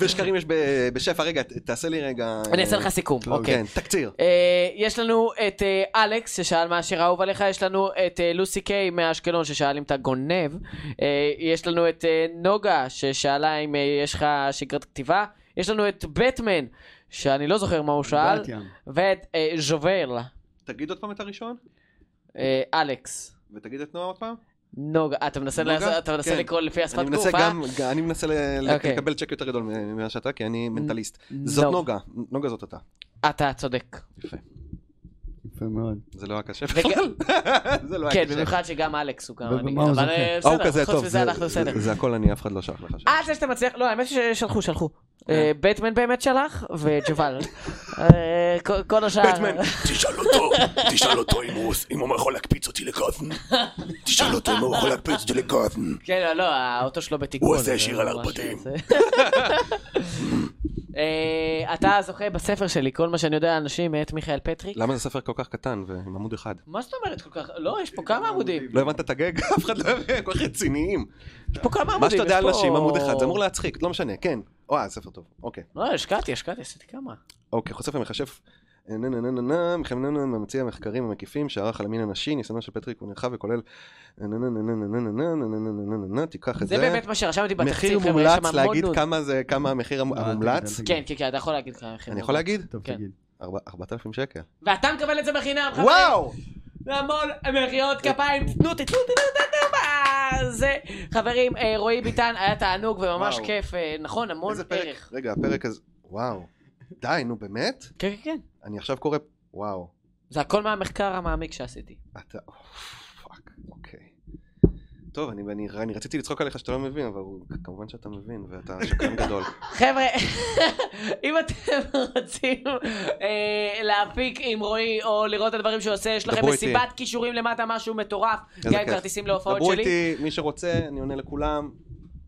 ושקרים יש ב- בשפע, רגע, ת- תעשה לי רגע... אני אעשה לך סיכום, אה, אוקיי. כן, תקציר. אה, יש לנו את אה, אלכס ששאל מה השיר האהוב עליך, יש לנו את אה, לוסי קיי מאשקלון ששאל אם אתה גונב, אה, יש לנו את אה, נוגה ששאלה אם אה, יש לך שגרת כתיבה, יש לנו את בטמן שאני לא זוכר מה הוא שאל, בת ים. ואת אה, ז'ובל, תגיד עוד פעם את הראשון, אה, אלכס. ותגיד את נועה עוד פעם. נוגה, אה, אתה מנסה נוגה? לעשות- אתה מנסה כן. לקרוא לפי השפת אני גוף, אה? מנסה גם, ג- אני מנסה ל- ל- אוקיי. לא. לקבל צ'ק יותר גדול מ- ממה שאתה, כי אני מנטליסט. נוג. זאת נוגה, נוגה זאת אתה. אתה צודק. יפה. יפה מאוד. זה לא היה קשה וגם- בכלל. זה לא כן, היה קשה. במיוחד שגם אלכס הוא גם... ובמה אני- הוא אבל זוכה? אה, אה, הוא בסדר, כזה חוץ טוב, מזה זה- אנחנו זה- בסדר. זה הכל אני, אף אחד לא שלח לך שם. אה, זה שאתה מצליח, לא, האמת ששלחו, שלחו. אה, בטמן באמת שלח, וג'ובל. אה, כל- כל השאר. בטמן, תשאל אותו, תשאל אותו אם הוא אם הוא יכול להקפיץ אותי לגפן. תשאל אותו אם הוא יכול להקפיץ אותי לגפן. כן, לא, לא, האוטו שלו בתיקון. הוא עושה זה שיר על ממש- ערפדים. זה- אה, אתה זוכה בספר שלי, כל מה שאני יודע על אנשים, מאת מיכאל פטריק. למה זה ספר כל כך קטן ועם עמוד אחד? מה זאת אומרת כל כך? לא, יש פה כמה עמודים. לא הבנת את הגג? אף אחד לא הבין, כל כך רציניים. יש פה כמה עמודים. מה שאתה יודע לא יש על נשים, פה- עמוד אחד, זה אמור להצחיק, לא משנה, כן. וואי, ספר טוב, אוקיי. לא, השקעתי, השקעתי, עשיתי כמה. אוקיי, חושף ומכשף. אה, נה נה נה נה נה, מכוון נה נה, ממציא המחקרים המקיפים שערך על המין הנשי, ניסיונו של פטריק הוא נרחב וכולל נה נה נה נה נה נה נה נה נה נה נה נה נה נה תיקח את זה זה. באמת מה שרשמתי מחיר בתקציב, חבר'ה, יש מומלץ, שם המון להגיד נוד. כמה זה, כמה המחיר המ- לא, אל תגיד, אל המומלץ. תגיד. כן, כן, כן, אתה יכול להגיד כמה מחיר אני מומלץ. יכול להגיד? טוב, כן. תגיד. ארבע- 4,000 שקל. ואתה מקבל את זה בחינם, חברים. וואו! המון מחיאות כפיים, תנו, תתנו, תתנו, תתנו, מה זה. חברים, אה, רועי ביטן, היה תענוג וממש וואו. כיף, אה, נכון, המון איזה פרק? ערך. רגע, הפרק הזה, וואו. די, נו באמת? כן, כן, כן. אני עכשיו קורא, וואו. זה הכל מהמחקר המעמיק שעשיתי. אתה, פאק, אוקיי. טוב, אני- אני אני רציתי לצחוק עליך שאתה לא מבין, אבל הוא- כמובן שאתה מבין, ואתה שקרן גדול. חבר'ה, אם אתם רוצים אה, להפיק עם רועי או לראות את הדברים שהוא עושה, יש לכם דברו איתי. מסיבת כישורים למטה, משהו מטורף. איזה גם עם כיף. כרטיסים להופעות דברו שלי. איתי, מי שרוצה, אני עונה לכולם.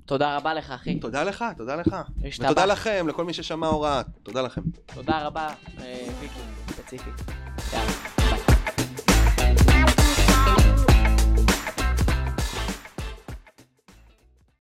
תודה רבה לך, אחי. תודה לך, תודה לך. השתבח. ותודה לכם, לכל מי ששמע הוראה. תודה לכם. תודה רבה, אה, ויקי, ספציפית. יאללה.